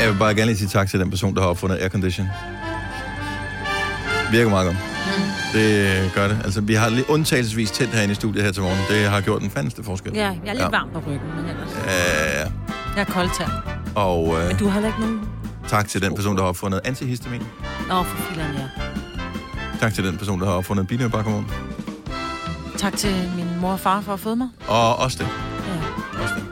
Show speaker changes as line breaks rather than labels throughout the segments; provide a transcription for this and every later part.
jeg vil bare gerne lige sige tak til den person, der har opfundet aircondition. Virker meget godt.
Mm.
Det gør det. Altså, vi har lidt undtagelsesvis tændt herinde i studiet her til morgen. Det har gjort den fandeste forskel.
Ja, jeg er lidt ja. varm på ryggen, men ellers.
Ja. Øh,
Jeg er koldt her.
og øh,
Men du har heller ikke nogen...
tak til den person, der har opfundet antihistamin.
Nå, for filan, ja.
Tak til den person, der har opfundet binøbakkermon.
Tak til min mor og far for at føde mig.
Og også det.
Ja.
Også det.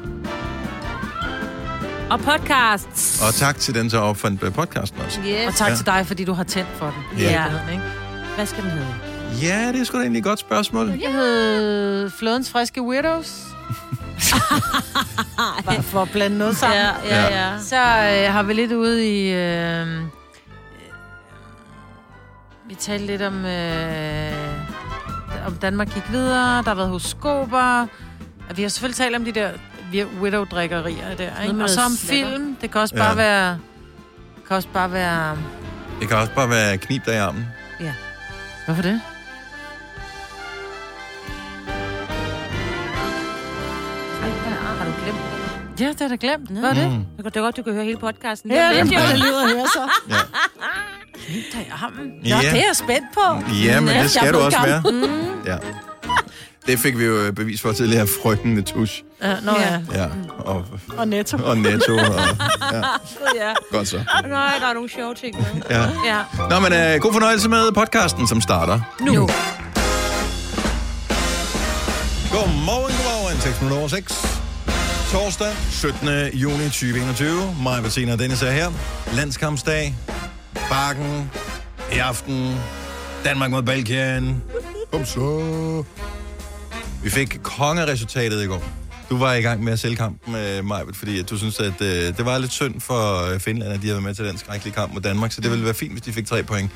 Og podcasts.
Og tak til den, der opfandt øh, podcasten også.
Yes. Og tak til dig, fordi du har tændt for den.
Ja.
Ja. Ikke? Hvad skal den hedde?
Ja, det er sgu da egentlig et godt spørgsmål.
Jeg hed Flådens Friske Weirdos. Bare for at blande noget sammen.
Ja, ja, ja.
Så øh, har vi lidt ude i... Øh, øh, vi talte lidt om, øh, om Danmark gik videre. Der har været horoskoper. Og Vi har selvfølgelig talt om de der vir- widow-drikkerier der,
Noget
ikke?
med
Og så om
slikker.
film. Det kan også
Ja.
bare være... kan også bare være...
Det kan også bare være knib dig i armen.
Hvorfor det?
Har du glemt det?
Ja, det har jeg da glemt. Hvad er det? Mm.
Det er godt, du kan høre hele podcasten.
Ja, det er
Jamen,
det, jeg lyder her så.
Ja.
Ja,
Ja.
det er jeg spændt på.
Ja, men
Ja,
det skal
jeg
du
blev
også være.
gammel. Mm.
Ja. Det fik vi jo øh, bevis for tidligere. Frygten med tusch.
Ja, nå ja.
Ja. Og,
Og netto.
og netto. Og, ja.
ja.
Godt så.
Nej, der er nogle sjove ting med.
Ja.
Ja.
Nå, men øh, god fornøjelse med podcasten, som starter.
Nu. nu.
Godmorgen, godmorgen. 6 minutter over 6. Torsdag, 17. juni 2021. Maja Bettina og Dennis er her. Landskampsdag. Bakken. I aften. Danmark mod Balkan. Kom så. Vi fik kongeresultatet i går. Du var i gang med at sælge kampen med Majbet, fordi at du synes, at øh, det var lidt synd for øh, Finland, at de havde været med til den skrækkelige kamp mod Danmark, så det ville være fint, hvis de fik tre point.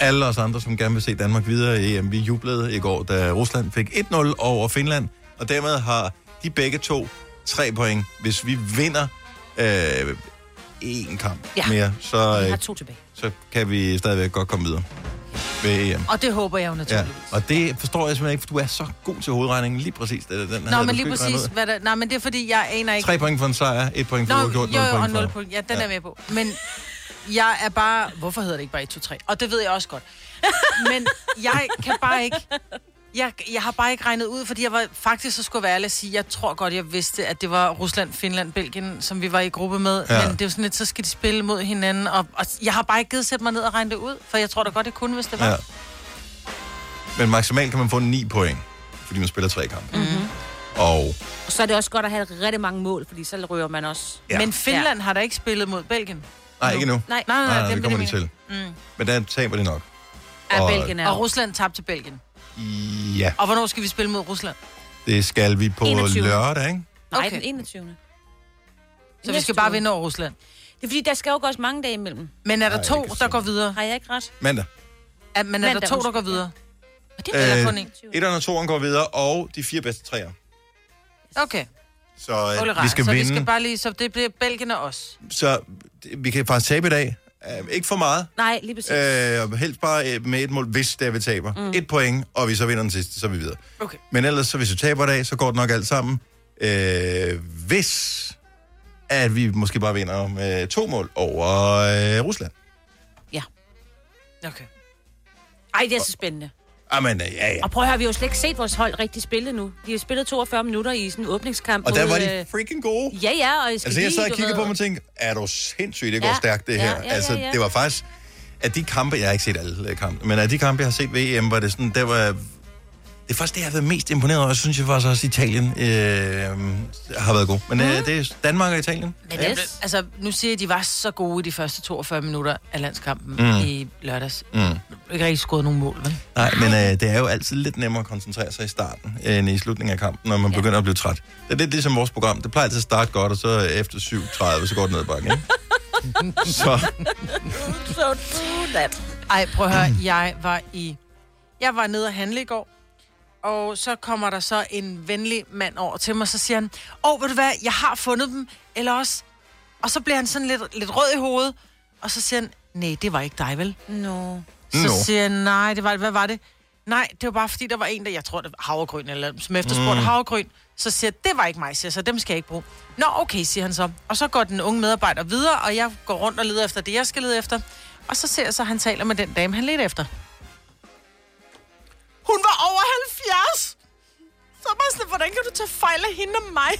Alle os andre, som gerne vil se Danmark videre i EM, vi jublede i går, da Rusland fik 1-0 over Finland, og dermed har de begge to tre point. Hvis vi vinder øh, én kamp
Ja.
mere, så,
Jeg
øh,
har to tilbage.
så kan vi stadigvæk godt komme videre ved EM.
Og det håber jeg jo
Ja,
naturligvis. Ja.
og det forstår jeg simpelthen ikke, for du er så god til hovedregningen. Lige præcis, det er den her.
Nå, men lige præcis, hvad der, nej, men det er fordi, jeg aner ikke...
3 point for en sejr, 1 point
Nå,
for
jo,
uafgjort, 0
jo, og
point
0
for...
point. Ja, den
Ja.
er jeg med på. Men jeg er bare... Hvorfor hedder det ikke bare 1, 2, 3? Og det ved jeg også godt. Men jeg kan bare ikke... Jeg, jeg har bare ikke regnet ud, fordi jeg var faktisk så skulle jeg være ærlig og sige, jeg tror godt, jeg vidste, at det var Rusland, Finland, Belgien, som vi var i gruppe med.
Ja.
Ja. Men det er jo sådan lidt, så skal de spille mod hinanden. Og, og jeg har bare ikke givet sætte mig ned og regne det ud, for jeg tror da godt, jeg kunne, hvis det var.
Ja. Men maksimalt kan man få 9 point, fordi man spiller tre kampe.
Mhm.
Mm-hmm. Og
Og så er det også godt at have rigtig mange mål, fordi så rører man også.
Ja.
Ja. Men Finland ja. har da ikke spillet mod Belgien.
nej, ikke nu.
Nej,
Nej, nej,
nej,
nej,
nej Ah, det
dem
kommer de
vil jeg
til. Mm. Men der taber de nok.
er
Og-
Belgien er
Og Rusland tabte til Belgien.
Ja,
Og hvornår skal vi spille mod Rusland?
det skal vi på
21.
lørdag, ikke?
Nej,
Okay.
den 21.
Så vi
Næste
skal bare
uge.
vinde over Rusland.
Det er fordi, der skal jo gå også mange dage imellem.
Men er der
Nej,
to,
ikke
der
så.
går videre?
Har jeg ikke ret?
Mandag.
Er, men er der
Mandag,
to, der
undskyld.
går videre? Og det er
Øh,
øh, kun en.
1'eren og 2'eren går videre, og de fire bedste træer.
Okay,
Så øh,
Ole
vi skal
så
vinde.
vi skal bare lige, så det bliver Belgien og os.
Så det- vi kan faktisk tabe i dag. Øh, ikke for meget.
Nej, lige præcis.
Øh, og helst bare øh, med et mål, hvis det er, vi taber. Mm. Et point, og vi så vinder den sidste, så er vi videre.
Okay.
Men ellers, så hvis vi taber i dag, så går det nok alt sammen. Øh, hvis at vi måske bare vinder med to mål over øh, Rusland.
Okay.
Ej, det er så spændende.
Amen, øh, ja, ja.
Og prøv at høre, vi har jo slet ikke set vores hold rigtig spille nu. De har spillet 42 minutter i sådan en åbningskamp.
Og der
mod,
var
øh,
de freaking gode.
Ja, ja, og jeg skal
Altså, jeg
lige,
sad og
du
kiggede
ved-
på dem og tænkte, er du sindssygt, det går
Ja,
stærkt, det
ja,
her.
ja, ja,
altså,
ja.
det var faktisk... At de kampe, jeg har ikke set alle øh, kampe, men af de kampe, jeg har set ved EM, var det sådan, der var... Det er faktisk det, jeg har været mest imponeret over. Jeg synes jeg faktisk også, at Italien øh, har været god. Men
Mm.
øh, det er Danmark og Italien.
Men
Yes.
yes. blev, altså, nu siger jeg, at de var så gode i de første 42 minutter af landskampen mm. i lørdags. Mm. Ikke rigtig skåret nogen mål, vel?
Nej, men øh, det er jo altid lidt nemmere at koncentrere sig i starten, øh, end i slutningen af kampen, når man ja. begynder at blive træt. Det er lidt ligesom vores program. Det plejer altid at starte godt, og så øh, efter 7.30, så går det ned ad bakken, ikke? så,
So true that.
Ej, prøv at høre, jeg var i... Jeg var nede og handle i går, og så kommer der så en venlig mand over til mig, og så siger han, åh, oh, ved du hvad, jeg har fundet dem, eller også... Og så bliver han sådan lidt, lidt rød i hovedet, og så siger han, nej, det var ikke dig, vel?
No.
Så
Nå.
siger jeg, nej, det var, hvad var det? Nej, det var bare fordi, der var en, der, jeg tror, det var havregryn, eller, som efterspurgte mm. havregryn. Så siger jeg, det var ikke mig, siger jeg, så dem skal jeg ikke bruge. Nå, okay, siger han så. Og så går den unge medarbejder videre, og jeg går rundt og leder efter det, jeg skal lede efter. Og så ser jeg så, at han taler med den dame, han ledte efter. Hun var over 70! Så var jeg sådan, hvordan kan du tage fejl af hende og mig?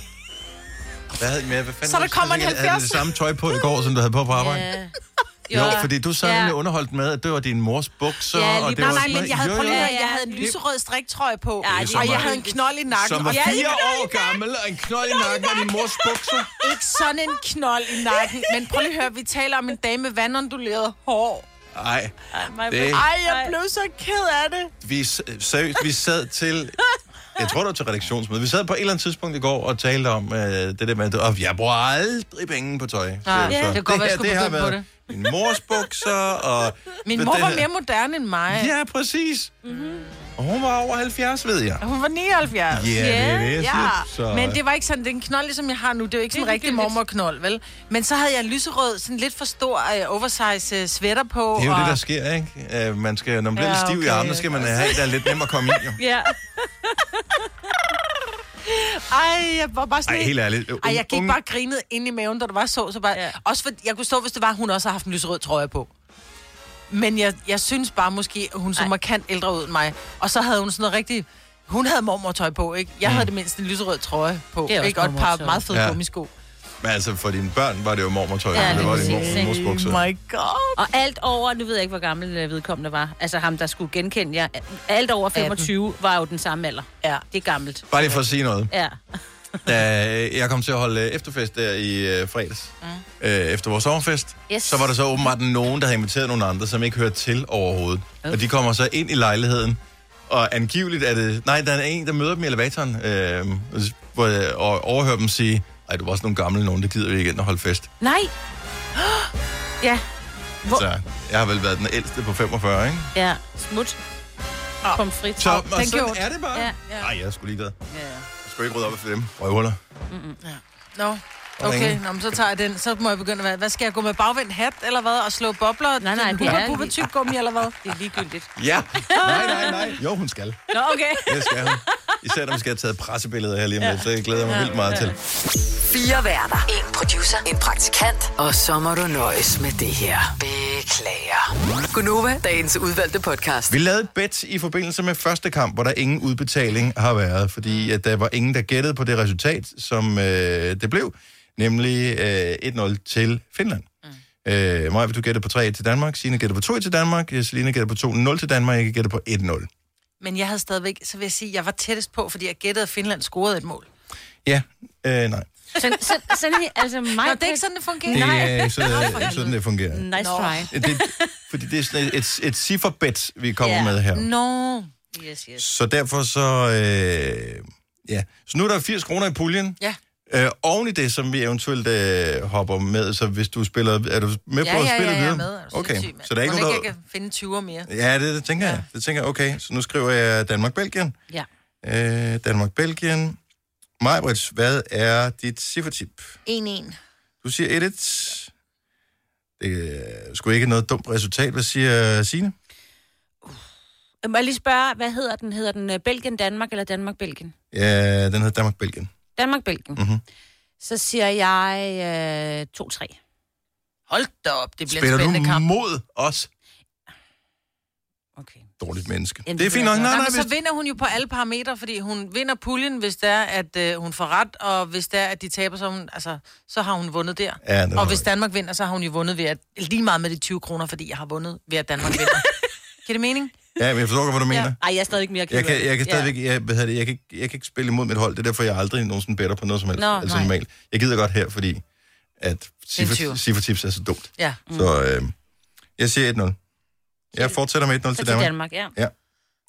Hvad havde, men hvad fanden
Så der
var det,
kommer en
havde du det
70'er.
samme tøj på i går, som du havde på på arbejde? Yeah.
Ja.
Jo, fordi du sad ja. underholdt med, at det var din mors bukser,
Ja, lige
og det
præcis.
var
Nej, men
sådan noget.
jeg havde,
Jo,
prøv lige at
jo.
høre, jeg havde en lyserød striktrøje på,
Ja,
det er
og jeg
meget-
havde en knold i nakken.
Som var
og jeg
fire år gammel, og en knold i nakken og din mors bukser.
ikke sådan en knold i nakken, men prøv lige at høre, vi taler om en dame med vandonduleret hår.
Nej,
Maja,
Det-
Ej, jeg blev så ked af det.
vi, s- seriøst, vi sad til... Jeg tror, det var til redaktionsmøde. Vi sad på et eller andet tidspunkt i går og talte om øh, det der med, at jeg bruger aldrig penge på tøj. Så,
Nej, det kan godt være, jeg
her,
skulle
har
begynde på
været Min mors bukser, og...
Min
det-
mor
det
var
her-
mere moderne end mig.
Ja, præcis. Mm-hmm. Og hun var over 70, ved jeg.
Hun var 79.
Ja, yeah, det er det, jeg
Ja,
siger. så...
men det var ikke sådan, den knold, ligesom jeg har nu, det er jo ikke sådan en rigtig
ligegyldigt.
mormorknold, vel? Men så havde jeg en lyserød, sådan lidt for stor øh, oversize øh, sweater på.
Det er jo
og...
det, der sker, ikke? Øh, man skal, når man bliver
Ja,
lidt stiv i
okay.
armene, skal man have en, der er lidt nemmere at komme ind, jo.
Ja.
Ej, jeg var bare sådan...
Ej,
helt-
helt ærligt.
Ej, jeg gik
Unge-
bare og grinede ind i maven, da du var så, så bare... Ja.
Ja.
Også for, jeg kunne stå, hvis det var, hun også har haft en lyserød trøje på. Men jeg, jeg synes bare måske, at hun så
Ej.
markant ældre ud end mig. Og så havde hun sådan noget rigtig... Hun havde mormortøj på, ikke? Jeg mm. havde det mindst en lyserød trøje på,
Det er også
ikke? Og et par
mormortøj.
meget fede
Ja.
ja. gummisko.
Men altså, for dine børn var det jo mormortøj,
Ja,
ja, det
lige
var din
præcis,
mor, mors bukser.
Oh my god!
Og alt over, nu ved jeg ikke, hvor gammel øh, vedkommende var, altså ham, der skulle genkende jer, alt over 25 var jo den samme alder.
Ja.
Det er gammelt.
Bare lige for at sige noget.
Ja.
Da jeg kom til at holde efterfest der i øh, fredags, øh, efter vores sommerfest,
Mm. Yes.
så var der så åbenbart nogen, der havde inviteret nogle andre, som ikke hørte til overhovedet.
Øv.
Og de kommer så ind i lejligheden, og angiveligt er det... Nej, der er en, der møder dem i elevatoren, øh, hvor, jeg- og overhører dem sige, ej, du var også nogle gamle nogen, det gider vi ikke ind og holde fest.
Nej! ja. Hvor?
Så jeg har vel været den ældste på 45, ikke?
Ja. Smut.
Ah.
Kom frit.
Så, og
thank
sådan
you.
er det bare.
Ja,
ja.
Nej, jeg er sgu ligeglad.
Ja.
Jeg skal ikke rydde op efter dem. Røvhuller.
Nå,
Ringe.
okay, Nå, men så tager jeg den. Så må jeg begynde at være... Hvad skal jeg gå med bagvendt hat, eller hvad? Og slå bobler?
Nej, nej, det
det
er-
er... tyggegummi, eller hvad?
Det er ligegyldigt.
Ja. Nej, nej, nej. Jo, hun skal.
Nå, okay.
Det skal hun. Især når vi skal have taget pressebilleder her lige om lidt, så jeg glæder mig vildt meget til.
Fire værter. En producer. En praktikant. Og så må du nøjes med det her. Beklager. Gunova, dagens udvalgte podcast.
Vi lavede et bet i forbindelse med første kamp, hvor der ingen udbetaling har været, fordi at der var ingen, der gættede på det resultat, som øh, det blev, nemlig øh, 1-0 til Finland. Mm. Øh, Maja, vil du gætte på 3 til Danmark, Signe gætter på 2-1 til Danmark, Selina gætter på 2-0 til Danmark, jeg kan gætte på 1-0.
Men jeg havde stadigvæk... Så vil jeg sige, at jeg var tættest på, fordi jeg gættede, at Finland scorede et mål.
Ja, øh, nej.
Sådan, sådan, sådan her, altså mig...
Nå, det er ikke sådan, det fungerer.
Det er ikke sådan, sådan, det fungerer.
Nice
Nå.
try.
Det, fordi det er sådan et, et, et cifferbet, vi kommer
Ja.
med her.
Nå.
Yes, yes.
Så derfor så... Øh, ja. Så nu er der 80 kroner i puljen.
Ja.
Øh, oven i det, som vi eventuelt øh, hopper med, så hvis du spiller... Er du med
Ja, ja,
på at
ja,
spille
ja, jeg er
videre?
med. Er du
okay,
sindssyg, mand?
så der er ikke
Mon
nogen,
jeg
der...
kan finde 20 mere.
Ja, det, det tænker jeg. Det tænker jeg, okay. Så nu skriver jeg Danmark-Belgien.
Ja.
Øh, Danmark-Belgien. Majbrits, hvad er dit ciffertip?
1-1.
Du siger 1-1. Det er sgu ikke noget dumt resultat. Hvad siger Signe?
Øh, Må jeg lige spørge, hvad hedder den? Hedder den øh, Belgien, Danmark eller Danmark, Belgien?
Ja, den hedder Danmark-Belgien.
Danmark, Belgien.
Mhm.
Så siger jeg øh, 2-3.
Hold da op, det bliver
Spiller
en
du
spændende kamp.
mod os?
Okay.
Dårligt menneske.
Jamen,
det er
det
fint
ved
nok.
jeg
Nej,
Nej,
nej,
men
hvis...
så vinder hun jo på alle parametre, fordi hun vinder puljen, hvis det er, at øh, hun får ret, og hvis det er, at de taber, så, er hun, altså, så har hun vundet der.
Ja, det
og
har
hvis
jeg.
Danmark vinder, så har hun jo vundet ved at... Lige meget med de 20 kroner, fordi jeg har vundet ved, at Danmark vinder. Giver det mening?
Ja, men jeg forstår godt, hvad du mener.
Ej, jeg er stadig ikke mere
Jeg kan, jeg kan
Ja.
stadigvæk, jeg, hvad hedder det, jeg, kan, ikke- jeg kan ikke spille imod mit hold, det er derfor, jeg aldrig nogensinde better på noget som helst.
Nå,
altså
nej.
normalt. Jeg gider godt her, fordi at
en tyver.
ciffer- ciffertips er så dumt.
Ja.
Mm. Så øh, jeg siger 1-0. Jeg fortsætter med 1-0
Så
til Danmark.
ja.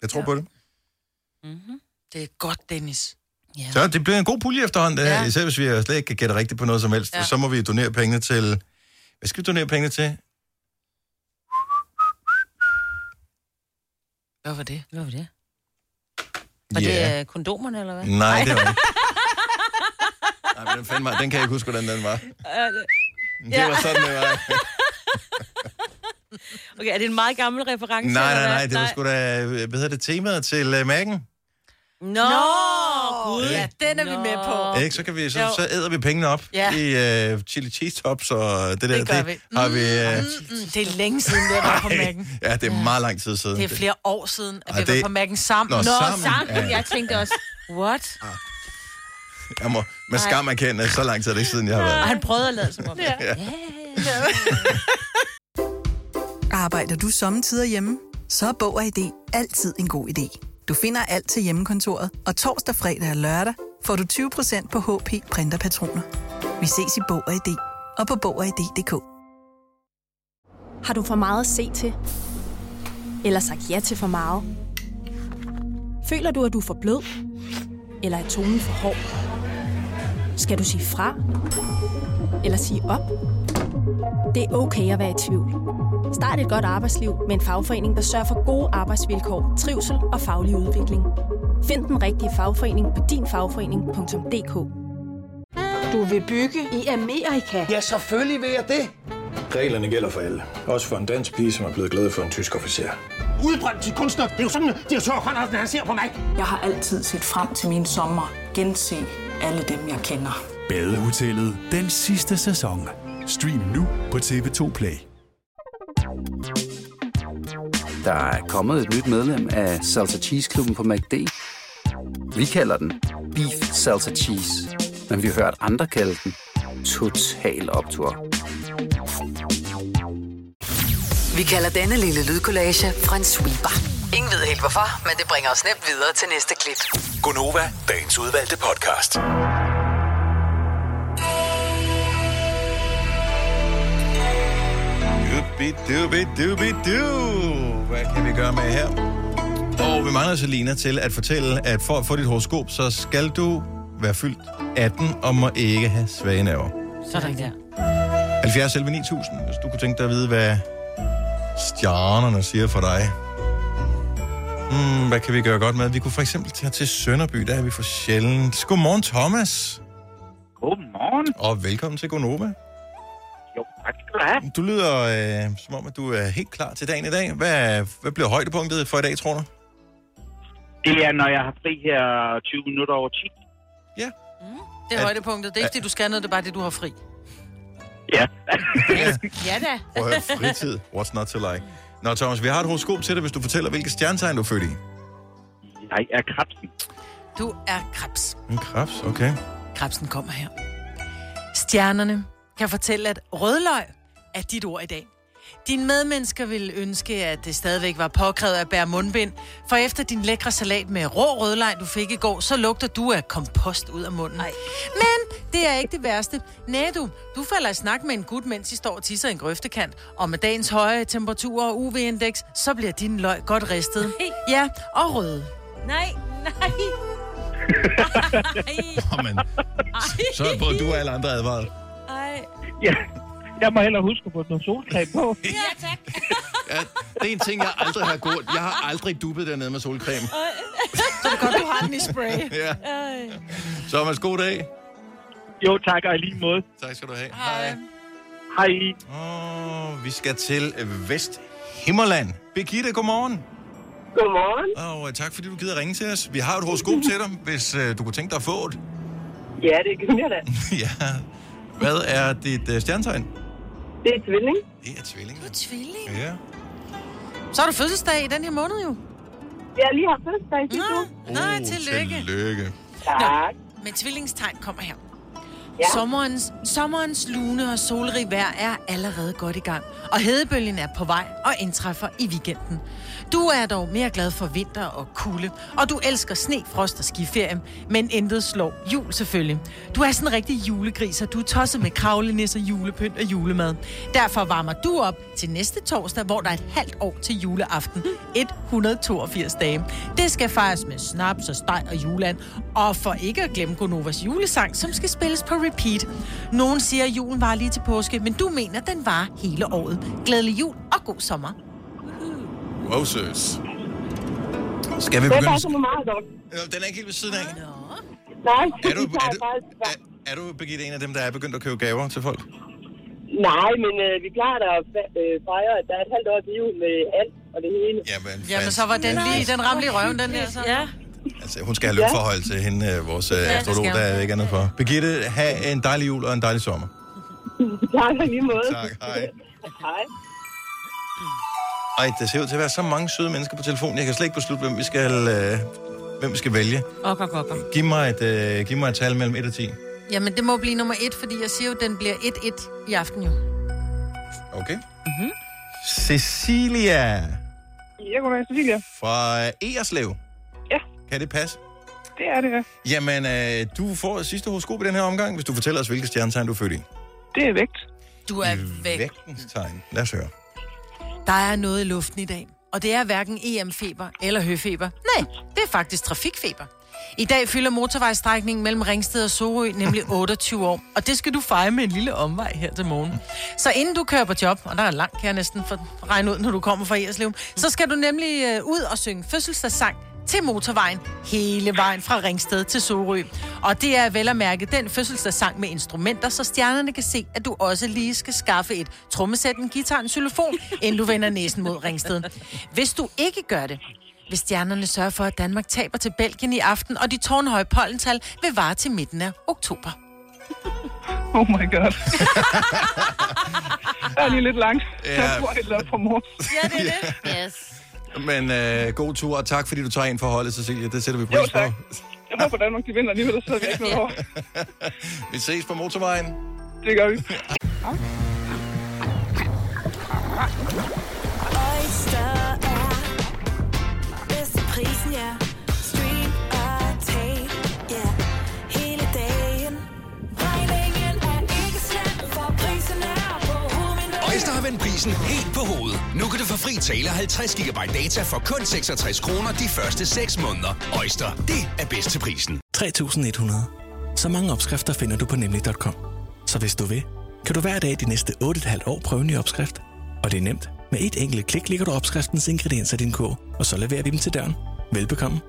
Jeg tror på det.
Det er godt, Dennis.
Ja.
Så det bliver en god pulje efterhånden, det her.
Ja.
Især hvis vi slet ikke kan gætte rigtigt på noget som helst.
Ja.
Så må vi donere pengene til... Hvad skal vi donere pengene til?
Hvad var det?
Hvad var det? Var
Ja.
det øh, kondomerne, eller hvad?
Nej, det var ikke. Nej, men den, fandme, var- den kan jeg ikke huske, hvordan den var. Det var sådan, det var.
Okay, er det en meget gammel reference?
Nej,
eller hvad?
nej, nej, det var sgu da, øh, hvad hedder det, temaet til uh, Mac'en?
Nå, Gud. Ja, den er vi med på.
Ikke, så kan vi, så,
Jo.
så æder vi pengene op
Ja.
i uh, chili cheese tops og det der.
Det gør vi.
Har vi uh,
Mm, det er længe siden, det var på Mac'en.
ja, det er meget lang tid siden.
Det er flere år siden, at
Ej,
vi var
det-
på Mac'en sammen.
Nå,
Nå,
sammen.
Sammen,
Ja.
jeg tænkte også, what?
Jeg må med skam erkende, at så lang tid er det ikke siden, jeg har været.
Og han prøvede at lade som om. Ja.
Arbejder du sommetider hjemme? Så er Bog og ID altid en god idé. Du finder alt til hjemmekontoret, og torsdag, fredag og lørdag får du 20% på HP Printerpatroner. Vi ses i Bog og ID og på Bog og ID.dk.
Har du for meget at se til? Eller sagt ja til for meget? Føler du, at du er for blød? Eller er tonen for hård? Skal du sige fra? Eller sige op? Det er okay at være i tvivl. Start et godt arbejdsliv med en fagforening, der sørger for gode arbejdsvilkår, trivsel og faglig udvikling. Find den rigtige fagforening på dinfagforening.dk
Du vil bygge i Amerika? Ja, selvfølgelig vil jeg det.
Reglerne gælder for alle. Også for en dansk pige, som er blevet glad for en tysk officer.
Udbrændt til kunstner. Det er jo sådan, at de har Conradsen, han ser på mig. Jeg har altid set frem til min sommer. Gense alle dem, jeg kender.
Badehotellet den sidste sæson. Stream nu på TV2 Play.
Der er kommet et nyt medlem af Salsa Cheese Klubben på MACD. Vi kalder den Beef Salsa Cheese, men vi har hørt andre kalde den Total Optor.
Vi kalder denne lille lydkollage en sweeper. Ingen ved helt hvorfor, men det bringer os nemt videre til næste klip.
Gonova, dagens udvalgte podcast.
Dubi, dubi, dubi, du. Hvad kan vi gøre med her? Og vi mangler Selina til at fortælle, at for at få dit horoskop, så skal du være fyldt 18 og må ikke have svage nerver.
Sådan der.
70 11 9000, hvis du kunne tænke dig at vide, hvad stjernerne siger for dig. Hmm, hvad kan vi gøre godt med? Vi kunne for eksempel tage til Sønderby, der er vi for sjældent. Godmorgen, Thomas. Godmorgen. Og velkommen til Gonova. Jo, tak skal du have. Du lyder øh, som om, at du er helt klar til dagen i dag. Hvad, hvad bliver højdepunktet for i dag, tror du?
Det er, når jeg har fri her 20 minutter over 10.
Det er højdepunktet. Det er ikke det, du skal noget, det er bare det, du har fri.
Ja.
Ja da.
Prøv at høre, fritid. What's not to like? Nå, Thomas, vi har et horoskop til dig, hvis du fortæller, hvilke stjernetegn du er født i.
Jeg er krebsen.
Du er krebs.
En krebs, okay.
Krebsen kommer her. Stjernerne kan fortælle, at rødløg er dit ord i dag. Dine medmennesker vil ønske, at det stadigvæk var påkrævet at bære mundbind, for efter din lækre salat med rå rødlej, du fik i går, så lugter du af kompost ud af munden. Ej. Men det er ikke det værste. Næ, du, du falder i snak med en gut, mens I står og tisser i en grøftekant, og med dagens høje temperaturer og UV-indeks, så bliver din løg godt ristet. Ja, og røde.
Nej, nej.
Jamen, så er både du og alle andre advaret.
Ej.
Ja. Jeg må hellere huske at få noget solcreme på.
Ja, tak.
Ja, det er en ting, jeg aldrig har gjort. Jeg har aldrig duppet dernede med solcreme.
Så er det godt, du har den i spray.
Ja.
Ej.
Thomas, god dag.
Jo, tak, og i lige måde.
Tak skal du have. Hej.
Hej.
Oh, vi skal til Vest Himmerland. Birgitte, godmorgen.
Godmorgen.
Og øh, tak, fordi du gider ringe til os. Vi har et horoskop til dig, hvis øh, du kunne tænke dig at få et.
Ja, det kan jeg da.
ja. Hvad er dit øh, stjernetegn?
Det er tvilling.
Det er tvilling.
Du er tvilling.
Ja.
Så har du fødselsdag i den her måned jo.
Jeg har lige haft fødselsdag i sidste uge.
Nej, Uh, tillykke.
Tillykke.
Tak. Nå, men tvillingstegn kommer her. Ja. Sommerens, sommerens lune og solrig vejr er allerede godt i gang, og hedebølgen er på vej og indtræffer i weekenden. Du er dog mere glad for vinter og kulde, og du elsker sne, frost og skiferie, men intet slår jul selvfølgelig. Du er sådan en rigtig julegris, og du er tosset med kravlenisser, julepynt og julemad. Derfor varmer du op til næste torsdag, hvor der er et halvt år til juleaften. 182 dage. Det skal fejres med snaps og steg og juleand. Og for ikke at glemme Gonovas julesang, som skal spilles på repeat. Nogen siger, at julen var lige til påske, men du mener, at den var hele året. Glædelig jul og god sommer.
Wow, søs. Skal vi
Det
begynde?
passer mig meget godt.
Øh, Den er ikke helt ved siden af.
Nej,
Er du-
vi tager
er du-
faktisk-
Er du, Birgitte, en af dem, der er begyndt at købe gaver til folk?
Nej, men øh, vi klarer da at fe- øh, fejre, at der er et halvt år til jul med alt og det hele.
Jamen,
Jamen, så var den lige, den ramte lige røven, den der. Så. Ja.
altså, hun skal have lønforhold til hende, øh, vores øh,
Ja, det
astrolog,
skal
der
hun.
er ikke andet for. Birgitte, have en dejlig jul og en dejlig sommer.
tak og lige måde.
Tak, hej.
Hej.
Ej, der ser ud til at være så mange søde mennesker på telefonen. Jeg kan slet ikke beslutte, hvem vi skal, øh, hvem vi skal vælge.
Ok, ok, ok.
Giv mig, et, øh, giv mig et tal mellem 1 og 10.
Jamen, det må blive nummer et, fordi jeg siger jo, den bliver 1-1 i aften jo.
Okay. Mm-hmm. Cecilia
Ja, goddag, Cecilia.
fra Ejerslev.
Ja.
Kan det passe?
Det er det, ja.
Jamen, øh, du får sidste horoskop i den her omgang, hvis du fortæller os, hvilket stjernetegn du er født i.
Det er vægt.
Du er væk.
Vægtens tegn. Lad os høre.
Der er noget i luften i dag, og det er hverken EM-feber eller høfeber. Nej, det er faktisk trafikfeber. I dag fylder motorvejsstrækningen mellem Ringsted og Sorø nemlig 28 år, og det skal du fejre med en lille omvej her til morgen. Så inden du kører på job, og der er langt, kan jeg næsten for regne ud, når du kommer fra Erslev, så skal du nemlig øh, ud og synge fødselsdagssang til motorvejen hele vejen fra Ringsted til Sorø. Og det er vel at mærke den fødselsdagssang med instrumenter, så stjernerne kan se, at du også lige skal skaffe et trommesæt, en guitar, en xylofon, inden du vender næsen mod Ringsted. Hvis du ikke gør det, hvis stjernerne sørger for, at Danmark taber til Belgien i aften, og de tårnhøje pollental vil vare til midten af oktober.
Oh my god. der er lige lidt langt.
Ja.
Jeg tror, jeg lader på mor.
Ja, det er det. Yes.
Men øh, god tur, og tak fordi du tager ind for holdet, Cecilia. Det sætter vi pris på.
Jeg håber, Danmark de vinder alligevel, så er vi ikke noget over.
Vi ses på motorvejen.
Det gør vi.
Oyster er bedst til prisen, ja. Stream og tag, ja. Hele dagen. Regningen er ikke slem, for prisen er på hovedet.
Øjster har vendt prisen helt på hovedet. Nu kan du få fri tale 50 GB data for kun 66 kroner de første 6 måneder. Øjster, det er bedst til prisen.
3100. Så mange opskrifter finder du på nemlig.com. Så hvis du vil, kan du hver dag de næste 8,5 år prøve en ny opskrift. Og det er nemt. Med et enkelt klik ligger du opskriftens ingredienser i din kog, og så leverer vi dem til døren. Velbekomme.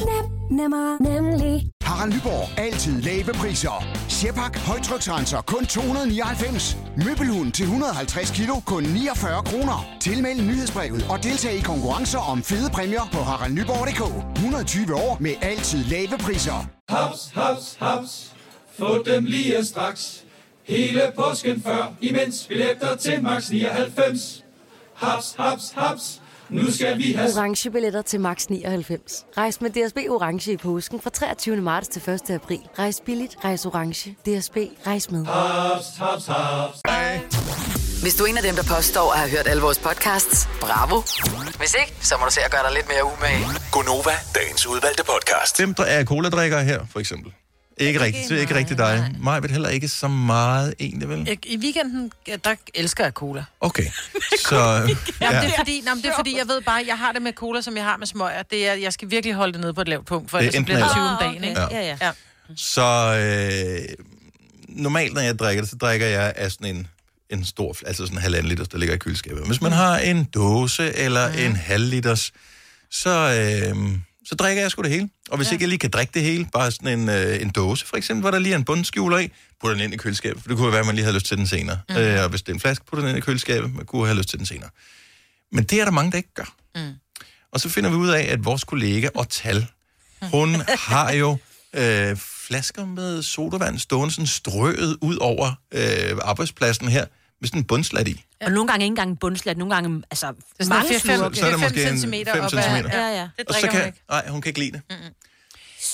Nem, nemmer, nemlig.
Harald Nyborg. Altid lave priser. Sjehpak. Højtryksrenser. Kun 299. Møbelhund til 150 kilo. Kun 49 kroner. Tilmeld nyhedsbrevet og deltag i konkurrencer om fede præmier på haraldnyborg.dk. 120 år med altid lave priser.
Haps, haps, haps. Få dem lige straks. Hele påsken før, imens billetter til max 99. Haps, haps, haps. Nu skal vi have
orange billetter til max 99. Rejs med DSB orange i påsken fra 23. marts til 1. april. Rejs billigt, rejs orange. DSB rejs med.
haps, haps, haps.
Hvis du er en af dem, der påstår at have hørt alle vores podcasts, bravo. Hvis ikke, så må du se at gøre dig lidt mere umage.
Gonova, dagens udvalgte podcast. Hvem der er coladrikker her, for eksempel? Ikke rigtigt, det er ikke rigtigt dig. Mig vil heller ikke så meget egentlig, vel?
Jeg- I weekenden, ja, der elsker jeg cola.
Okay, så...
Jamen, ja.
Ja.
det, er fordi, nej, det er fordi, jeg ved bare, jeg har det med cola, som jeg har med smøger. Det er, jeg skal virkelig holde det nede på et lavt punkt, for
Det er
ellers så
enten
bliver det 20
eller.
om dagen. Ikke?
Ah, okay.
ja.
Så øh, normalt, når jeg drikker det, så drikker jeg af sådan en, en stor, fl- altså sådan en halvanden liters, der ligger i køleskabet. Hvis man har en dåse eller mm. en halv liters, så, øh, så drikker jeg sgu det hele. Og hvis ja. ikke jeg lige kan drikke det hele, bare sådan en, øh, en dåse for eksempel, hvor der lige er en bundskjuler i, putter den ind i køleskabet, for det kunne jo være, at man lige havde lyst til den senere. Mm. Øh, og hvis det er en flaske, putter den ind i køleskabet, man kunne have lyst til den senere. Men det er der mange, der ikke gør.
Mm.
Og så finder vi ud af, at vores kollega Otal, hun har jo øh, flasker med sodavand stående sådan strøet ud over øh, arbejdspladsen her, med sådan en bundslat i.
Og nogle gange ikke engang en bundslat, nogle gange altså,
sådan
mange
fire- fem-
slurke.
så er der Det er måske fem en centimeter fem op ad- centimeter.
Ja, ja.
Og så kan, Nej, hun kan ikke lide det.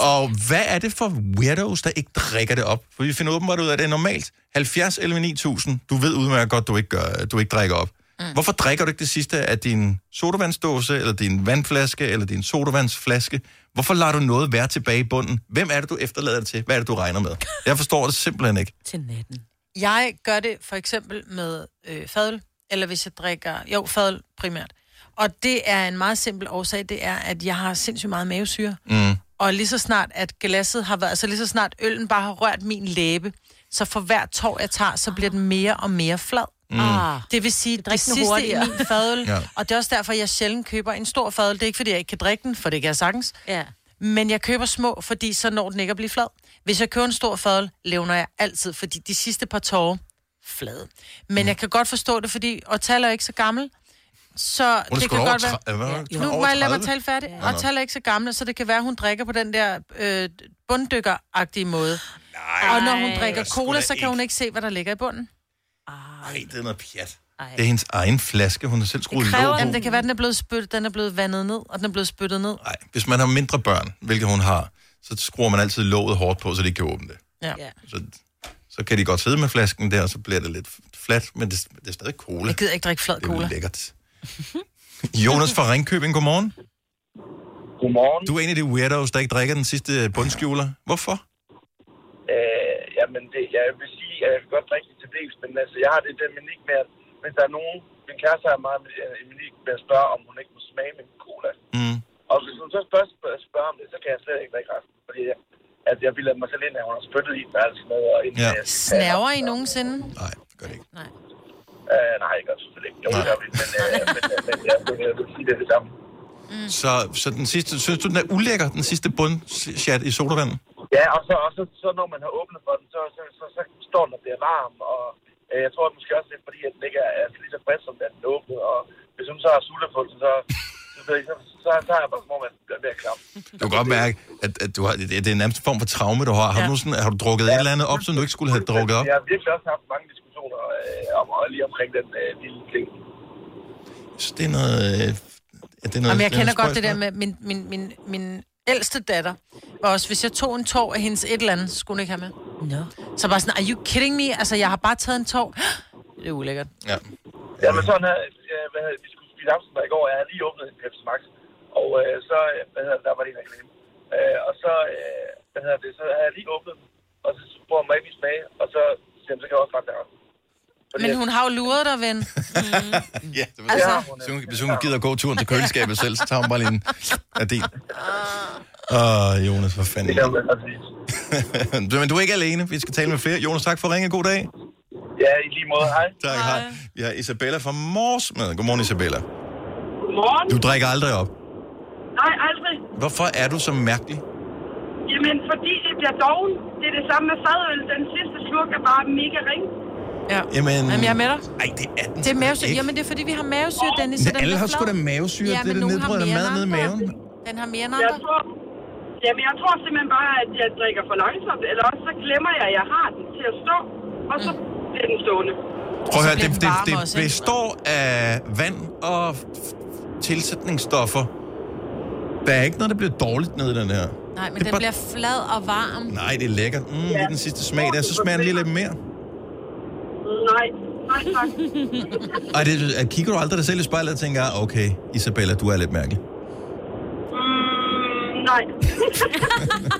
Og hvad er det for weirdos, der ikke drikker det op? For vi finder åbenbart ud af, at det er normalt. 70 11 9000, du ved udmærket godt, du ikke, gør, du ikke drikker op. Mm. Hvorfor drikker du ikke det sidste af din sodavandsdåse, eller din vandflaske, eller din sodavandsflaske? Hvorfor lader du noget være tilbage i bunden? Hvem er det, du efterlader det til? Hvad er det, du regner med? Jeg forstår det simpelthen ikke.
Til natten.
Jeg gør det for eksempel med øh, fadøl, eller hvis jeg drikker, jo, fadøl primært. Og det er en meget simpel årsag, det er, at jeg har sindssygt meget mavesyre.
Mm.
Og lige så snart, at glasset har været, altså lige så snart øllen bare har rørt min læbe, så for hver tår, jeg tager, så bliver den mere og mere flad.
Mm.
Ah, det vil sige, det, det
drikker den
sidste hurtigere.
hurtigere.
i min fadøl,
Ja.
ja. og det er også derfor, jeg sjældent køber en stor fadøl. Det er ikke, fordi jeg ikke kan drikke den, for det kan jeg sagtens.
Ja.
Men jeg køber små, fordi så når den ikke at blive flad. Hvis jeg køber en stor fadøl, levner jeg altid, fordi de
Mm.
sidste par tårer, flade. Men jeg kan godt forstå det, fordi Otal er ikke så gammel, Så
Hun er
det
sgu
kan
over
godt være...
tre- hvad var det?
Nu
Over
må jeg lade mig
30?
tale færdig.
Ja.
Og tal er ikke så gamle, så det kan være, hun drikker på den der øh, bunddykkeragtige måde. Nej, og når hun
det
drikker
er sgu
cola,
da
så kan
ikke.
hun ikke se, hvad der ligger i bunden.
Nej, det er noget pjat. Det er hendes egen flaske, hun har selv skruet
Kræver,
låg
jamen,
på.
det kan være, den er blevet, spyt, den er blevet vandet ned, og den er blevet spyttet ned.
Nej. Hvis man har mindre børn, hvilket hun har, så skruer man altid låget hårdt på, så de ikke kan åbne det.
Ja. ja.
Så, så kan de godt sidde med flasken der, og så bliver det lidt fladt, men det, det er stadig cola.
Jeg gider ikke drikke flad
Det er
cola.
jo lækkert. Jonas fra Ringkøbing, godmorgen. Godmorgen. Du er en af de weirdos, der ikke drikker den sidste bundskjuler. Hvorfor?
Øh, jamen, det, jeg vil sige, at jeg kan godt drikke lidt til dels, men altså, jeg har det der menik med, at hvis der er nogen, min kæreste har meget med, øh, menik med at spørge, om hun ikke må smage min cola.
Mm.
Og hvis hun så spørger, spørger, spørger om det, så kan jeg slet ikke drikke resten, fordi jeg, at jeg bilder mig selv ind, at hun har spyttet i den og alt sådan noget. Og ja.
Snæver I nogensinde?
Øh, nej, jeg gør det selvfølgelig ikke. Jo, det gør vi, men, øh, men, øh, men jeg, vil, jeg vil sige det er det samme.
Mm. Så, så den sidste, synes du, den er ulækker, den sidste bundshat i sodavanden?
Ja, og så, og så, så når man har åbnet for den, så, så, så, så står den og bliver varm, og øh, jeg tror at måske også, det er fordi, at den ikke er, er lige så frisk, som da den åbnede, og hvis hun så har sultet på den, så, så, så, så, så, så er jeg bare som om, at den bliver ved at klappe.
Du kan godt mærke, at, at du har, det det er nærmest en form for traume, du har. Har, du, sådan, har du drukket ja. et eller andet op, som du ikke skulle have drukket op?
Jeg har virkelig også haft mange diskussioner øh, om, og lige omkring den øh, lille ting.
Så det er noget... Øh, ja, det er
Jamen,
noget
jeg
det
kender
er noget
godt
spøjs
det der
noget.
med min, min, min, min ældste datter. Var også, hvis jeg tog en tår af hendes et eller andet, så skulle hun ikke have med.
No.
Så bare sådan, are you kidding me? Altså, jeg har bare taget en tår. Det er ulækkert.
Ja.
Ja, men sådan her, øh, hvad hedder, vi skulle spise aftensmad i går, og jeg havde lige åbnet en Pepsi Max, og øh, så, øh, hvad hedder, der var det en reklame. Øh, og så, øh, hvad hedder det, så havde jeg lige åbnet den, og så spurgte mig ikke min smag, og så siger jeg, så kan jeg også bare derop.
Men hun har jo luret dig, ven.
Ja, det ved
Altså-
jeg. Hvis hun- Hvis hun gider gå turen til køleskabet selv, så tager hun bare lige en af din.
Ah.
Åh, Jonas, for fanden. Du- Men du er ikke alene. Vi skal tale med flere. Jonas, tak for at ringe. God dag.
Ja, i lige måde. Hej.
Tak, hej. Vi har Isabella fra Mors med. Godmorgen, Isabella.
Godmorgen.
Du drikker aldrig op.
Nej, aldrig.
Hvorfor er du så mærkelig?
Jamen, fordi det bliver doven. Det er det samme med fadøl. Den sidste slurk er bare mega ring.
Ja.
Jamen...
Jamen, jeg er med dig.
Ej, det er den
Det er
sgu da
mavesyre.
ikke.
Jamen, det er fordi, vi har mavesyre, Dennis. så
Men
den
alle
bliver
har sgu
flad.
da mavesyre.
Ja,
Det er
men
det
nogen
nedbryder
har mere
mad
end
nede i
andre.
maven.
Den har mere end
Jeg
andre.
tror, jamen, jeg tror simpelthen bare, at jeg drikker for langsomt. Eller også så glemmer jeg, at jeg har den til at stå. Og så bliver den stående.
Prøv at høre,
bliver den
det, det,
varmere
det
også, ikke?
består af vand og f- f- tilsætningsstoffer. Der er ikke noget, der bliver dårligt nede i den her.
Nej, men
Det er
den
bare-
bliver flad og varm.
Nej, det er lækkert. Mm, det er den sidste smag der. Så smager den lige lidt mere.
Nej, nej tak.
Og det, er- kigger du aldrig dig selv i spejlet og tænker, "Ah, okay, Isabella, du er lidt mærkelig.
mm, nej.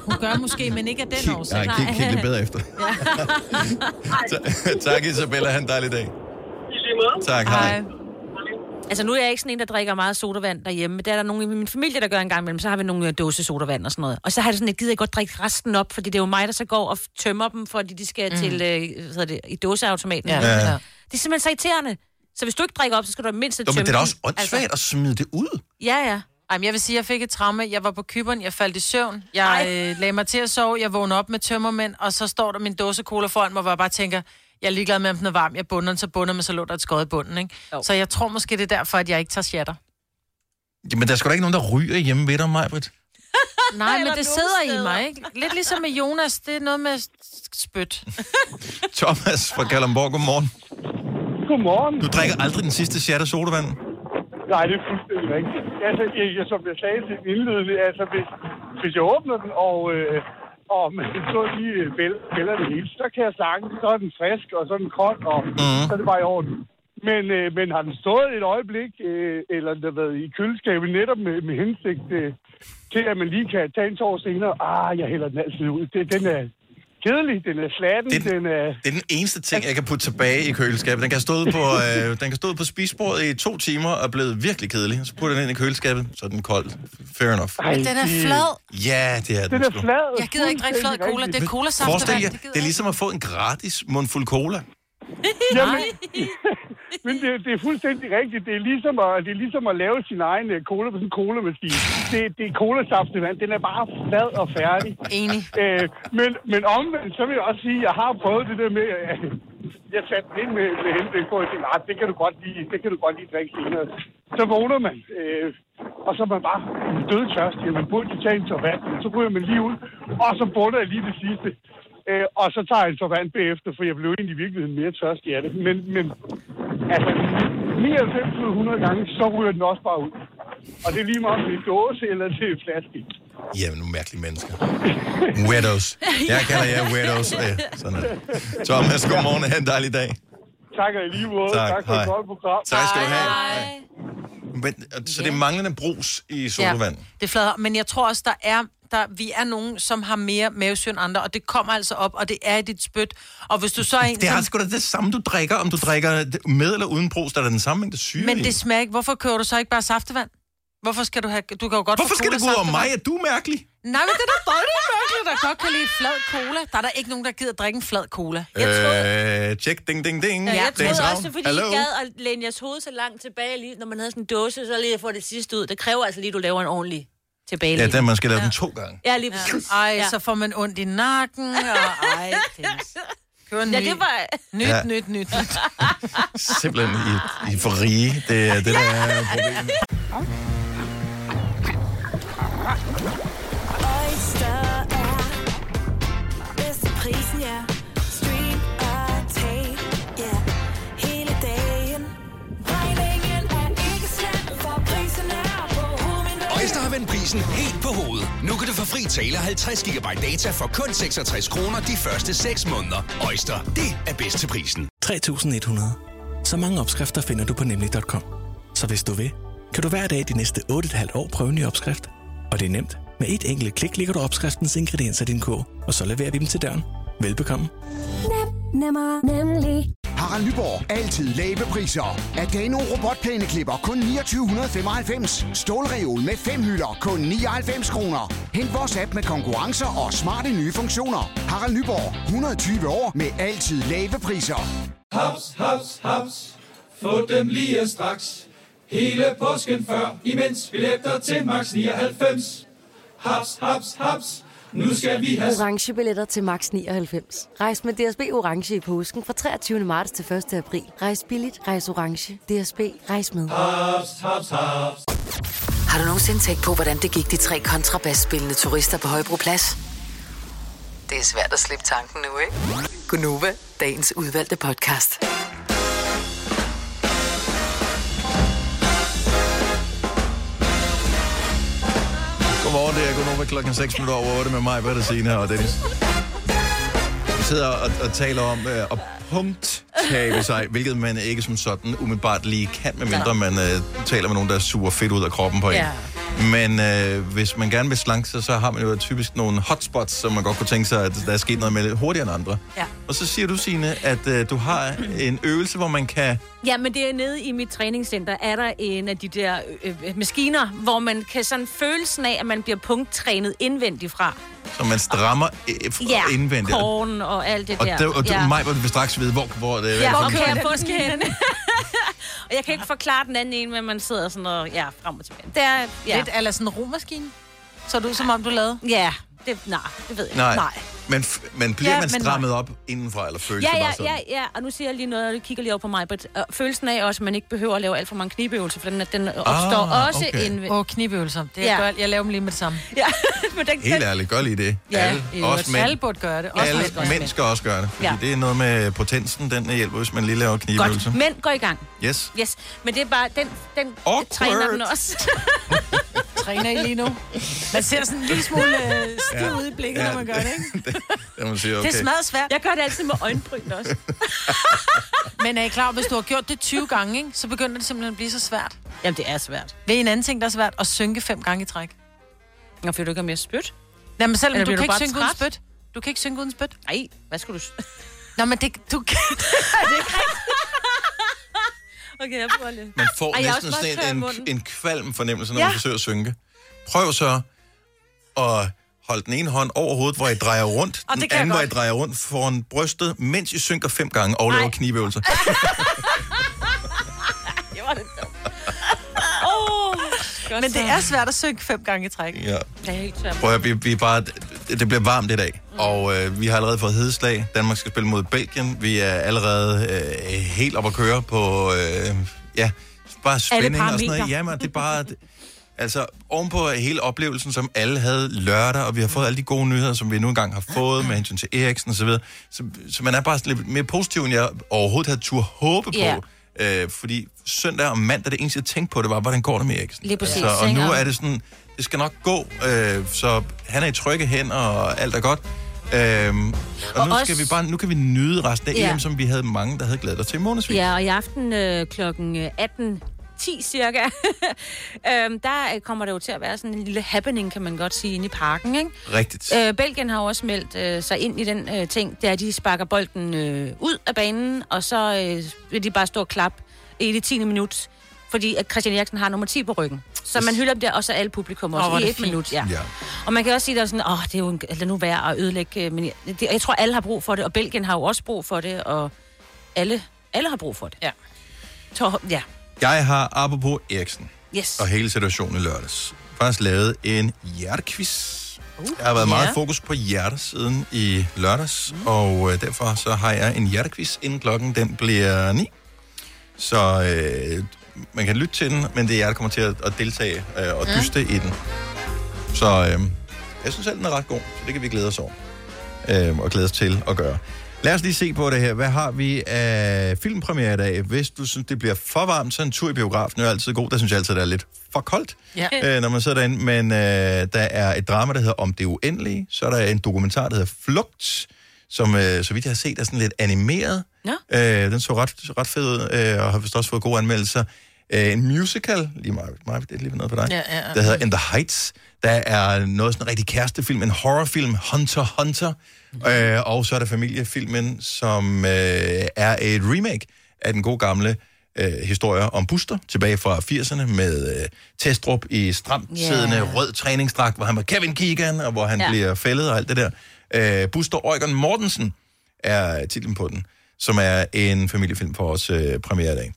Hun gør måske, men ikke af den årsag.
Nej, kig, kig lidt bedre efter. tak, Isabella. Ha' en dejlig dag. Tak, hej.
Altså, nu er jeg ikke sådan en, der drikker meget sodavand derhjemme. men Der er der nogen i min familie, der gør en gang imellem. Så har vi nogle øh, dåse sodavand og sådan noget. Og så har det sådan, jeg gider ikke godt drikke resten op, fordi det er jo mig, der så går og f- tømmer dem, fordi de
Mm.
skal mm. til øh, hvad hedder det, i dåseautomaten.
Ja, Ja. ja.
Det er simpelthen så irriterende. Så hvis du ikke drikker op, så skal du mindst
Nå,
tømme
men det er da
den.
også åndssvagt at smide det ud.
Ja, ja.
Ej, men jeg vil sige, at jeg fik et traume. Jeg var på kyberen, jeg faldt i søvn. Jeg øh, lagde mig til at sove, jeg vågnede op med tømmermænd, og så står der min dåse cola foran mig, hvor jeg bare tænker, jeg er ligeglad med, om den er varm. Jeg bunder den, så bunder men så lå der et skod i bunden. Ikke? Så jeg tror måske, det er derfor, at jeg ikke tager shatter.
Jamen, der er sgu da ikke nogen, der ryger hjemme ved dig, Majbrit.
Nej, men
Eller nogen
det sidder i
steder.
mig, ikke? Lidt ligesom med Jonas, det er noget med s- spyt.
Thomas fra Kalamborg, godmorgen.
Godmorgen.
Du drikker aldrig den sidste shatter sodavand.
Nej, det er fuldstændig rigtigt. Altså, jeg, jeg, som jeg sagde til indledende, altså, hvis, hvis jeg åbner den, og, øh, og man så lige øh, bæl- bælger det hele, så kan jeg snakke, så er den frisk, og så er den kold, og mm. så er det bare i orden. Men, øh, men har den stået et øjeblik, øh, eller den har været i køleskabet netop med, med hensigt øh, til, at man lige kan tage en tår senere, ah, jeg hælder den altid ud. Det, den er kedelig, den er slatten, den, den er...
Det er den eneste ting, jeg kan putte tilbage i køleskabet. Den kan stå ude på, øh, den kan stå ude på spisbordet i to timer og er blevet virkelig kedelig. Så putter den ind i køleskabet, så er den kold. Fair enough.
Ej, Men den er det- flad.
Ja, det er den. sgu.
Jeg gider ikke drikke flad cola, det er
Forestil
colasaftevand.
jer, det er ligesom at få en gratis mundfuld cola.
Jamen, men det, det er fuldstændig rigtigt. Det er ligesom at, det er ligesom at lave sin egen øh, cola på sin colamaskine. Det, det er colasaft, det vand. Den er bare flad og færdig.
Enig.
Øh, men, men omvendt, så vil jeg også sige, at jeg har prøvet det der med, at jeg satte den ind med, med henblik på, at jeg tænkte, "Ah, det kan du godt lige, det kan du godt lige drikke senere. Så så vågner man, øh, og så er man bare dødtørstig, og man burde lige tage en tår vand, så ryger man lige ud, og så bunder jeg lige det sidste. Øh, og så tager jeg en tår vand bagefter, for jeg blev egentlig i virkeligheden mere tørstig af det. Men, men altså, 99 ud af 100 gange, så ryger den også bare ud. Og det er lige meget om det er dåse eller til en flaske.
Jamen, nogle mærkelige mennesker. Weirdos. Jeg kalder jer weirdos. Ja, sådan er det. Thomas, godmorgen. Ha' en dejlig dag.
Tak og i lige måde.
Tak.
Tak, tak for
Hej.
et godt program.
Tak skal du have. Men, øh, så det er manglende brus i sodavand. Ja.
det flader. Men jeg tror også, der er, der, vi er nogen, som har mere mavesyn end andre, og det kommer altså op, og det er i dit spyt. Og hvis du så er en,
Det er
som-
sgu da det samme, du drikker. Om du drikker med eller uden brus, der er da den samme mængde syre
Men
i.
det smager ikke. Hvorfor kører du så ikke bare saftevand? Hvorfor skal du have... Du kan jo godt
Hvorfor
få
skal det gå ud over
cola-saftevand.
mig? Er du mærkelig?
Nej, men det er da bare det mærkeligt, der godt kan lide flad cola. Der er der ikke nogen, der gider drikke en flad cola.
Øh, tjek, ding, ding, ding.
Ja, jeg
Dings,
troede
rav.
også, fordi
Hallo?
Hello? I gad at læne jeres hoved så langt tilbage, lige, når man havde sådan en dåse, så lige at få det sidste ud. Det kræver altså lige, at du laver en ordentlig tilbage.
Ja, den, man skal lave den to gange.
Ja, lige præcis.
Ej, så får man ondt i nakken, og ej, Dennis. Kører en
Ja,
ny.
det var-
Nyt,
Ja.
ja. nyt, nyt, nyt.
Simpelthen, I, I er for rige. Det er det, der er problemet.
Oyster er bedst til prisen, ja. Stream og tag, ja. Hele dagen. Regningen er ikke slem, for prisen er på hovedet.
Øjster har vendt prisen helt på hovedet. Nu kan du få fri tale 50 GB data for kun 66 kroner de første 6 måneder. Øjster, det er bedst til prisen.
3.100. Så mange opskrifter finder du på nemlig.com. Så hvis du vil, kan du hver dag de næste 8,5 år prøve en ny opskrift. Og det er nemt. Med et enkelt klik ligger du opskriftens ingredienser i din kog, og så leverer vi dem til døren. Velbekomme.
Nem, nemmer, nemlig.
Harald Nyborg. Altid lave priser. Adano robotplæneklipper kun 2995. Stålreol med fem hylder kun 99 kroner. Hent vores app med konkurrencer og smarte nye funktioner. Harald Nyborg. 120 år med altid lave priser.
Haps, haps, haps. Få dem lige straks. Hele påsken før, imens billetter til max 99. Haps, haps, haps. Nu skal vi have...
orange billetter til max 99. Rejs med DSB orange i påsken fra 23. marts til 1. april. Rejs billigt, rejs orange. DSB rejs med.
Haps, haps, haps.
Har du nogensinde tænkt på, hvordan det gik de tre kontrabasspillende turister på Højbroplads? Det er svært at slippe tanken nu, ikke? Gunova, dagens udvalgte podcast.
Godmorgen, det er Gunova klokken 6 minutter over 8 med mig, Britta Sina og Dennis. Vi sidder og, og taler om øh, at punkttabe sig, hvilket man ikke som sådan umiddelbart lige kan, medmindre man øh, taler med nogen, der suger fedt ud af kroppen på en.
Ja.
Men øh, hvis man gerne vil slanke sig, så har man jo typisk nogle hotspots, som man godt kunne tænke sig, at der er sket noget med lidt hurtigere end andre.
Ja.
Og så siger du, Signe, at øh, du har en øvelse, hvor man kan...
Ja, men det er nede i mit træningscenter, er der en af de der øh, øh, maskiner, hvor man kan sådan følelsen af, at man bliver punkttrænet indvendigt fra.
Så man strammer øh,
Ja,
f- indvendigt.
korn og alt det
Og,
der.
det, og du,
ja.
ja. mig vil straks vide, hvor, hvor øh, det
Ja, hvor
hvor-
kan jeg påske henne? og jeg kan ikke forklare den anden en, men man sidder sådan og ja, frem og tilbage. Det er, ja.
Lidt
eller sådan en romaskine. Så du som om du lavede? Ja, det, nej, det ved jeg
Nej.
ikke.
Nej. Men, f- men bliver
Ja,
man
men
strammet op indenfra, eller føles
Ja,
det
ja,
bare sådan?
ja, ja, og nu siger jeg lige noget, og du kigger lige over på mig, but, uh, følelsen af også, at man ikke behøver at lave alt for mange knibeøvelser, for den, den øh, opstår
Ah,
også
okay.
indvendigt.
Åh, knibeøvelser. Det er
Ja.
godt. Jeg laver dem lige med det samme.
Ja, men den,
Helt ærligt, gør lige det.
Ja,
alle,
i øvrigt.
også mænd.
Alle burde gøre det. Også
alle
mænd, også
mænd
mænd.
skal også gøre det, fordi
Ja.
ja. det er noget med potensen, den hjælper, hvis man lige laver knibeøvelser.
Godt, mænd går i gang.
Yes.
Yes, men det er bare, den, den
Awkward.
træner den også.
Træner I lige nu? Man ser sådan en lille smule øh, stiv
Ja.
ud i blikket,
Ja,
når man gør det, ikke?
Ja, man siger, okay.
svært.
Jeg gør det altid med øjenbryn også.
Men er I klar, hvis du har gjort det 20 gange, ikke, så begynder det simpelthen at blive så svært.
Jamen, det er svært.
Ved I en anden ting, der er svært? At synke fem gange i træk.
Nå, for du ikke har mere spyt?
Nej, men selvom
Eller
du kan
bliver du
ikke
bare
synke uden
træt?
spyt. Du kan ikke synke uden spyt.
Nej, hvad skulle du...
Nå, men det, du kan...
okay, jeg prøver lidt.
Man får
Ej, jeg er
næsten
også meget
sådan
tør i
en,
munden.
en kvalm fornemmelse, når
Ja.
man forsøger at synke. Prøv så at holde den ene hånd over hovedet, hvor I drejer rundt.
Og det
den
kan jeg
anden, hvor I
godt.
drejer rundt foran brystet, mens I synker fem gange og laver knibeøvelser.
Det var det dumt. Oh,
men det er svært at synke fem gange i træk.
Ja.
Jeg er helt tør.
Prøv at, vi, vi er bare, det, det bliver varmt i dag,
Mm.
og øh, vi har allerede fået hedeslag. Danmark skal spille mod Belgien. Vi er allerede øh, helt op at køre på, øh, ja, Bare spænding og sådan
parametre.
noget. Jamen, det er bare... Altså, ovenpå hele oplevelsen, som alle havde lørdag, og vi har fået alle de gode nyheder, som vi nu engang har fået med hensyn til Eriksen og så videre. Så, så man er bare sådan lidt mere positiv, end jeg overhovedet havde tur håbe på.
Ja.
Øh, fordi søndag og mandag, det eneste jeg tænkte på, det var, hvordan går det med Eriksen?
Lige præcis,
Altså, og
ikke?
nu
Og-
er det sådan, det skal nok gå, øh, så han er i trygge hænder, og alt er godt. Øhm, og,
Og
og nu, skal
også-
vi bare, nu kan vi nyde resten af
Ja.
ja. EM, som vi havde mange, der havde glædet os til i månedsvis.
Ja, og i aften øh, klokken 18 10 cirka, øhm, der øh, kommer det jo til at være sådan en lille happening, kan man godt sige, inde i parken, ikke?
Rigtigt.
Øh, Belgien har jo også meldt øh, sig ind i den øh, ting, der de sparker bolden øh, ud af banen, og så øh, vil de bare stå og klap i det 10. minut, fordi at Christian Eriksen har nummer 10 på ryggen. Så man hylder dem der, og så alle publikum også
Åh, hvor er
i
det
et
fint.
minut. Ja.
Ja.
Og man kan også sige, at der er sådan, åh, det er jo en, lad nu være at ødelægge, øh, men jeg, det, jeg tror, alle har brug for det, og Belgien har jo også brug for det, og alle, alle har brug for det.
Ja.
Tror, ja.
Jeg har, apropos Eriksen,
Yes.
og hele situationen i lørdags, faktisk lavet en hjertequiz. Uh, jeg har været meget
ja.
fokus på hjertet siden i lørdags, mm. og øh, derfor så har jeg en hjertequiz, inden klokken den bliver 9. Så øh, man kan lytte til den, men det er jer, der kommer til at, at deltage øh, og dyste i den. Så øh, jeg synes selv, den er ret god, så det kan vi glæde os over øh, og glæde os til at gøre. Lad os lige se på det her. Hvad har vi af filmpremiere i dag? Hvis du synes, det bliver for varmt, så en tur i biografen er jo altid god. Der synes jeg altid, det er lidt for koldt,
Ja.
øh, når man sidder derinde. Men øh, der er et drama, der hedder Om det uendelige. Så er der en dokumentar, der hedder Flugt, som, øh, så vidt jeg har set, er sådan lidt animeret.
Nå.
Øh, den så ret, ret fed ud, øh, og har vist også fået gode anmeldelser. Øh, en musical, lige meget, meget det er lige noget for dig,
Ja, ja, ja.
der hedder In the Heights. Der er noget sådan en rigtig kærestefilm, en horrorfilm, Hunter Hunter. Øh, og så er der familiefilmen, som øh, er et remake af den gode gamle øh, historie om Buster, tilbage fra 80'erne, med øh, Testrup i stramt
Ja.
siddende rød træningsdragt, hvor han var Kevin Keegan, og hvor han
Ja.
ja. bliver fældet og alt det der. Øh, Buster Eugen Mortensen er titlen på den, som er en familiefilm for os øh, premiere i dag.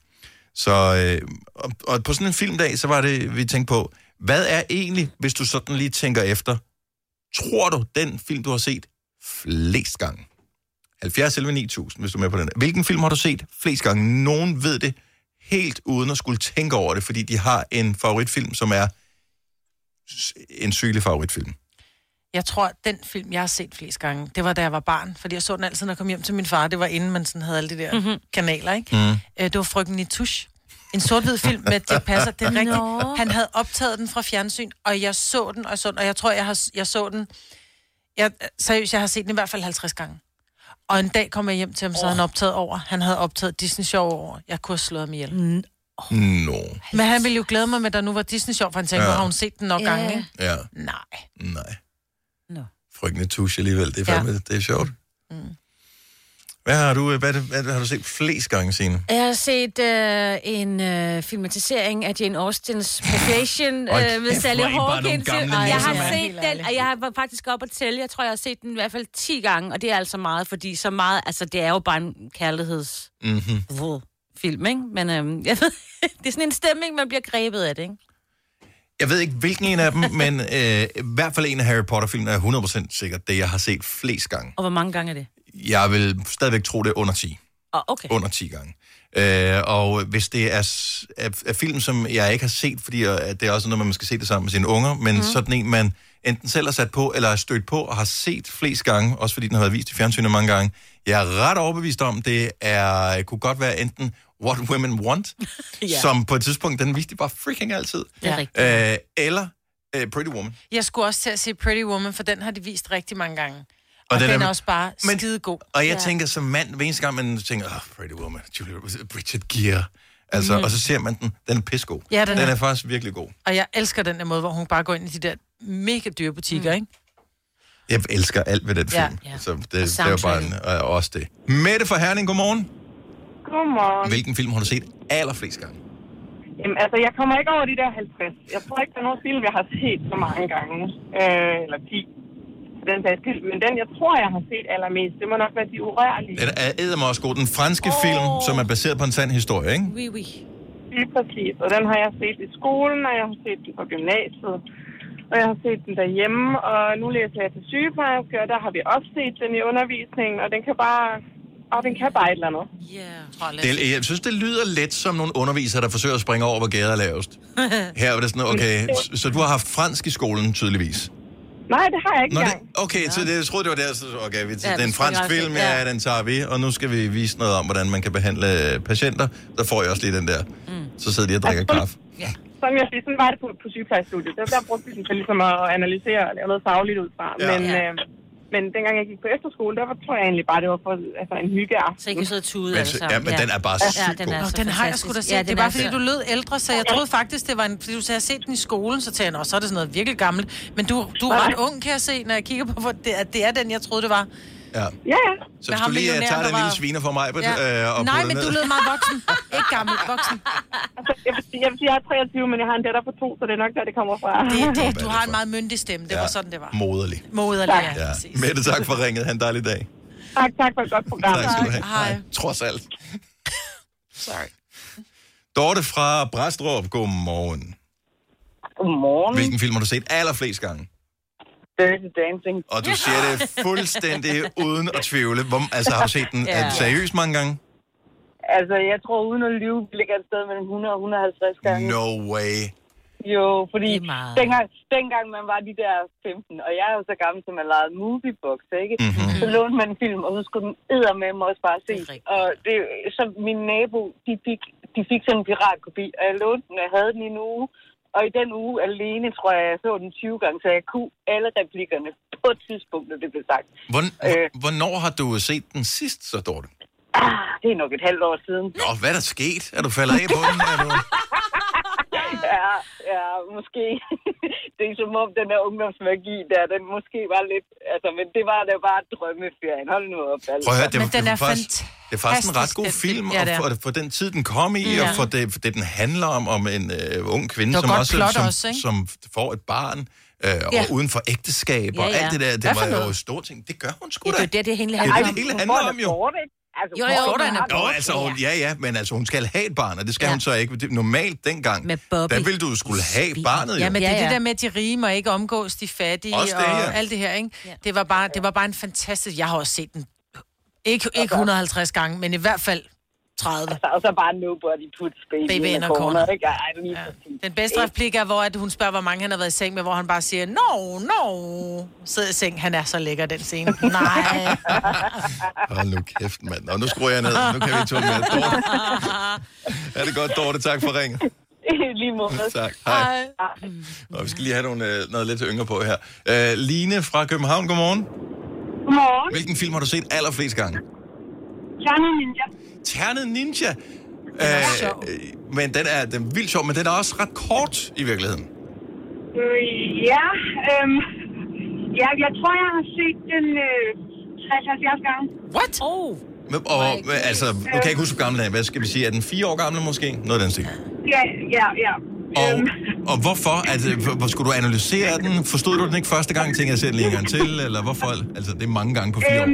Så, øh, og, og på sådan en filmdag, så var det, vi tænkte på, hvad er egentlig, hvis du sådan lige tænker efter, tror du, den film, du har set flest gange? 70 11 9000, hvis du er med på den. Hvilken film har du set flest gange? Nogen ved det helt uden at skulle tænke over det, fordi de har en favoritfilm, som er s- en sygelig favoritfilm.
Jeg tror, at den film, jeg har set flest gange, det var, da jeg var barn. Fordi jeg så den altid, når jeg kom hjem til min far. Det var inden man sådan havde alle de der mm-hmm. kanaler, ikke?
Mm.
Øh, det var Frygten i Tusch. En sort-hvid film med Dirk Passer. Det er
Nå.
rigtigt. Han havde optaget den fra fjernsyn, og jeg så den, og jeg så den, og jeg tror, jeg, har, jeg så den... Jeg, seriøst, jeg har set den i hvert fald 50 gange. Og en dag kom jeg hjem til ham, så havde han optaget over. Han havde optaget Disney Sjov over. Jeg kunne have slået ham ihjel. Mm.
Nå.
Men han ville jo glæde mig med, at der nu var Disney Sjov, for han tænkte,
Ja.
ja. har hun set den nok
Ja.
ja. gange, ikke?
Ja.
Nej.
Nej.
Nå.
Frygtende tusche alligevel. Det er
Ja.
fandme, ja. det er sjovt. Mm. Hvad har du, øh, hvad, hvad, hvad har du set flest gange, Signe?
Jeg har set øh, en øh, filmatisering af Jane Austens Profession
Hold
øh, med
kæft,
Sally
hvor er I bare nogle
Hawkins.
gamle
Og Jeg
nisser,
har
mand.
set den, og jeg var faktisk op og tælle. Jeg tror, jeg har set den i hvert fald 10 gange, og det er altså meget, fordi så meget, altså det er jo bare en kærligheds
Mm-hmm.
film, ikke? Men øhm, jeg ved, det er sådan en stemning, man bliver grebet af det, ikke?
Jeg ved ikke, hvilken en af dem, men øh, i hvert fald en af Harry Potter-filmene er 100% sikkert det, jeg har set flest gange.
Og hvor mange gange er det?
Jeg vil stadigvæk tro, det er under 10.
Oh, okay.
Under 10 gange. Øh, og hvis det er, s- er, er film, som jeg ikke har set, fordi øh, at det er også noget, man skal se det sammen med sine unger, men
Mhm.
mm. sådan en, man enten selv har sat på, eller er stødt på og har set flest gange, også fordi den har været vist i fjernsynet mange gange. Jeg er ret overbevist om, det er, kunne godt være enten What Women Want,
Ja.
ja. som på et tidspunkt, den viste de bare freaking altid.
Det er
Øh, eller øh, Pretty Woman.
Jeg skulle også til at sige Pretty Woman, for den har de vist rigtig mange gange. Og,
den
den,
er-
er, også bare men, skide god.
Og jeg ja. tænker som mand, hver eneste gang man tænker, oh, Pretty Woman, Julia, Roberts, Bridget Gere. Altså,
Mhm.
mm. og så ser man den, den er pissegod.
Ja, den
den
er.
er faktisk virkelig god.
Og jeg elsker den der måde, hvor hun bare går ind i de der mega dyre butikker, mm. ikke?
Jeg elsker alt ved den
Ja.
film.
Ja.
Ja. Så det,
Og
det er jo bare en, øh, også det. Mette fra Herning, godmorgen.
Godmorgen.
Hvilken film har du set allerflest gange?
Jamen, altså, jeg kommer ikke over de der 50. Jeg tror ikke, der er nogen film, jeg har set så mange gange. Øh, eller 10. For den sags skyld. Men den, jeg tror, jeg har set allermest, det må nok være De Urørlige.
Den er eddermame også god. Den franske oh. film, som er baseret på en sand historie, ikke?
Oui, oui.
Lige præcis. Og den har jeg set i skolen, og jeg har set den på gymnasiet. Og jeg har set den derhjemme, og nu læser jeg til sygeplejerske, og der har vi også set den i undervisningen, og den kan bare Og den kan bare et eller andet.
Det, jeg synes, det lyder lidt som nogle undervisere, der forsøger at springe over, hvor gader er lavest. Her er det sådan, okay, s- så du har haft fransk i skolen, tydeligvis.
Nej, det har jeg ikke
Nå, det,
engang.
okay, så det, jeg troede, det var der, så okay, vi,
Ja,
ja,
det
den fransk
springer også
film,
lidt, ja.
ja. den tager vi, og nu skal vi vise noget om, hvordan man kan behandle øh, patienter. Der får jeg også lige den der. Mm. Så sidder de og drikker kaffe.
Som jeg siger, sådan var det på, på sygeplejestudiet. Der, der brugte vi den til ligesom at analysere og lave noget fagligt ud fra.
Ja.
Men,
Ja.
øh, men dengang jeg gik på efterskole, der var, tror jeg egentlig bare, det var for altså, en hyggeaften. Så I kan sidde og tude
Men alle så- sammen. ja, men Ja. den er bare Ja, sygt den er god.
Nå,
så
den har jeg
fantastisk.
sgu da set.
Ja,
Ja,
den
det er
er
bare, fordi
altså-
så-
du lød ældre, så jeg troede faktisk, det var en... Fordi du sagde, jeg har set den i skolen, så tænkte jeg, "Nå, så er det sådan noget virkelig gammelt. Men du, du er
Nej.
ret ung, kan jeg se, når jeg kigger på, hvor det, at det er den, jeg troede, det var.
Ja.
Ja, ja.
Så hvis du lige øh, tager den lille sviner for mig, ja. øh, og
Nej,
putter
men
ned.
du lød meget voksen. Ikke gammel, voksen.
Altså, jeg, vil sige, jeg vil sige, jeg er 23, men jeg har en datter på to, så det er nok der, det kommer fra.
Det, er det, du har en meget myndig stemme. Det var sådan, det var.
Moderlig.
Moderlig, ja.
Ja. Mette, tak for ringet. Han dejlig dag.
Tak, tak for et godt program.
Tak skal du have. Hej. Trods alt.
Sorry.
Dorte fra Brastrup, godmorgen.
Godmorgen.
Hvilken film har du set allerflest gange?
Dirty Dancing.
Og du siger det fuldstændig uden at tvivle. Hvor, altså, har du set den
Ja.
ja. seriøst mange gange?
Altså, jeg tror uden at lyve, vi ligger et sted mellem 100 og 150 gange.
No way.
Jo, fordi dengang, dengang man var de der 15, og jeg er jo så gammel, som man legede moviebox, ikke?
Mhm.
Mm-hmm. Så lånte man en film, og så skulle den eddermame også bare se. Og det, så min nabo, de fik, de fik sådan en piratkopi, og jeg lånte den, og jeg havde den i en uge. Og i den uge alene, tror jeg, jeg så den 20 gange, så jeg kunne alle replikkerne på et tidspunkt, når det blev sagt.
Hvorn, øh. Hvornår har du set den sidst, så Dorte?
Ah, det er nok et halvt år siden.
Nå, hvad er der sket? Er du faldet af på den? Er du...
Ja, ja, måske. det er som om den der ungdomsmagi der, den måske var lidt... Altså, men det var da bare drømmeferien. Hold nu op. Altså.
Prøv at høre, det, var, det, var faktisk, det er faktisk en ret god film,
Ja,
ja,
det er.
og for, for den tid, den kom i,
Ja.
ja. og for det, for det, den handler om, om en øh, ung kvinde,
Det var
som
godt
også,
plot
som,
også, ikke?
som får et barn, øh, og
Ja.
uden for ægteskab,
Ja,
og
ja.
alt det der,
Hvad
det
for
var jo
noget?
store ting. Det gør hun sgu
Ja,
da.
det er jo det, det hele
er
handler
det,
om.
det hele
Hun
handler
får
om, jo.
Altså,
Jo,
hun
jo,
får
hun
da
har
en
da-
Nå,
abort.
altså, hun, ja, ja, men altså, hun skal have et barn, og det skal ja. hun så ikke. Det- Normalt dengang, Med der ville du skulle have barnet, jo.
Ja, men det er det der med, at de rige må ikke omgås de fattige
Også det,
og
ja.
alt det her, ikke? Det var, bare, det var bare en fantastisk... Jeg har også set den. Ikke, ikke 150 gange, men i hvert fald 30.
Altså, og så bare nobody puts baby,
Baby
in
in
a
a
corner.
corner.
Ikke? Ej, lige ja.
Den bedste replik er, hvor at hun spørger, hvor mange han har været i seng med, hvor han bare siger, no, no, sidder i seng. Han er så lækker, den scene. Nej.
Hold nu kæft, mand. Og nu skruer jeg ned. Nu kan vi ikke tåle mere. Dorte. Er det godt, Dorte? Tak for ringen.
lige måde.
Tak. Hej. Og vi skal lige have nogle, øh, noget lidt yngre på her. Øh, Line fra København, godmorgen.
Godmorgen.
Hvilken film har du set allerflest gange?
Ternet Ninja.
Ternet Ninja. Øh, øh, men den er, den er vildt sjov, men den er også ret kort i virkeligheden.
Øh, ja, øhm, ja, jeg tror, jeg har set den øh, 60-70 gange.
What?
Oh.
Men- Og, men altså, nu kan jeg ikke huske, hvor gammel den er. Hvad skal vi sige? Er den fire år gammel måske? Noget af den stil.
Ja, ja, ja.
Og, og hvorfor? Altså, hvor- hvor skulle du analysere den? Forstod du den ikke første gang? Tænkte jeg, jeg ser den lige en gang til? Eller hvorfor? Altså, det er mange gange på fire år.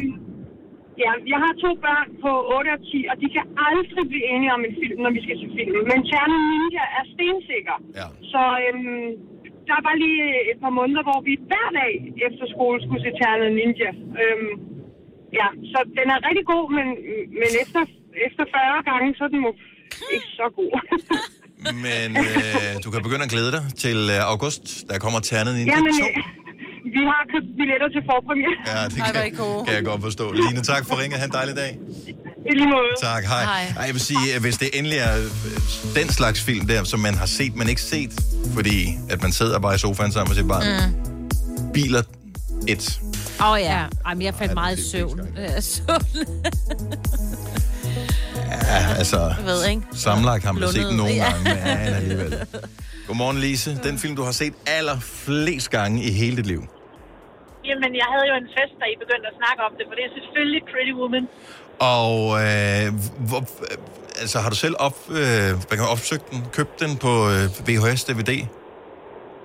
Ja, jeg har to børn på 8 og 10, og de kan aldrig blive enige om en film, når vi skal se film. Men Tjerno Ninja er stensikker.
Ja.
Så øhm, der var lige et par måneder, hvor vi hver dag efter skole skulle se Tjerno Ninja. Øhm, ja, så den er rigtig god, men, men efter, efter 40 gange, så er den jo ikke så god.
Men øh, du kan begynde at glæde dig til øh, august. Der kommer Ternet Ninja
Jamen,
2.
øh, vi har købt billetter til forpremiere.
Ja, det kan, kan jeg godt forstå. Line, tak for ringet. Ha' en dejlig dag.
I lige måde.
Tak, hej.
Hej.
Ej, jeg vil sige, at hvis det endelig er øh, den slags film der, som man har set, men ikke set, fordi at man sidder bare i sofaen sammen med sit barn. Mm. Biler 1.
Åh oh, ja, Jamen, jeg faldt meget i søvn. Øh, søvn.
Ja, altså,
Jeg ved, ikke?
sammenlagt har man set den
Lundet,
nogle
ja.
gange, men alligevel. Godmorgen, Lise. Den film, du har set allerflest gange i hele dit liv.
Jamen, jeg havde jo en fest, da I begyndte at snakke om det, for det er selvfølgelig Pretty Woman.
Og øh, hvor, øh, altså, har du selv op, øh, hvad kan man, opsøgt den, købt den på øh, VHS, DVD?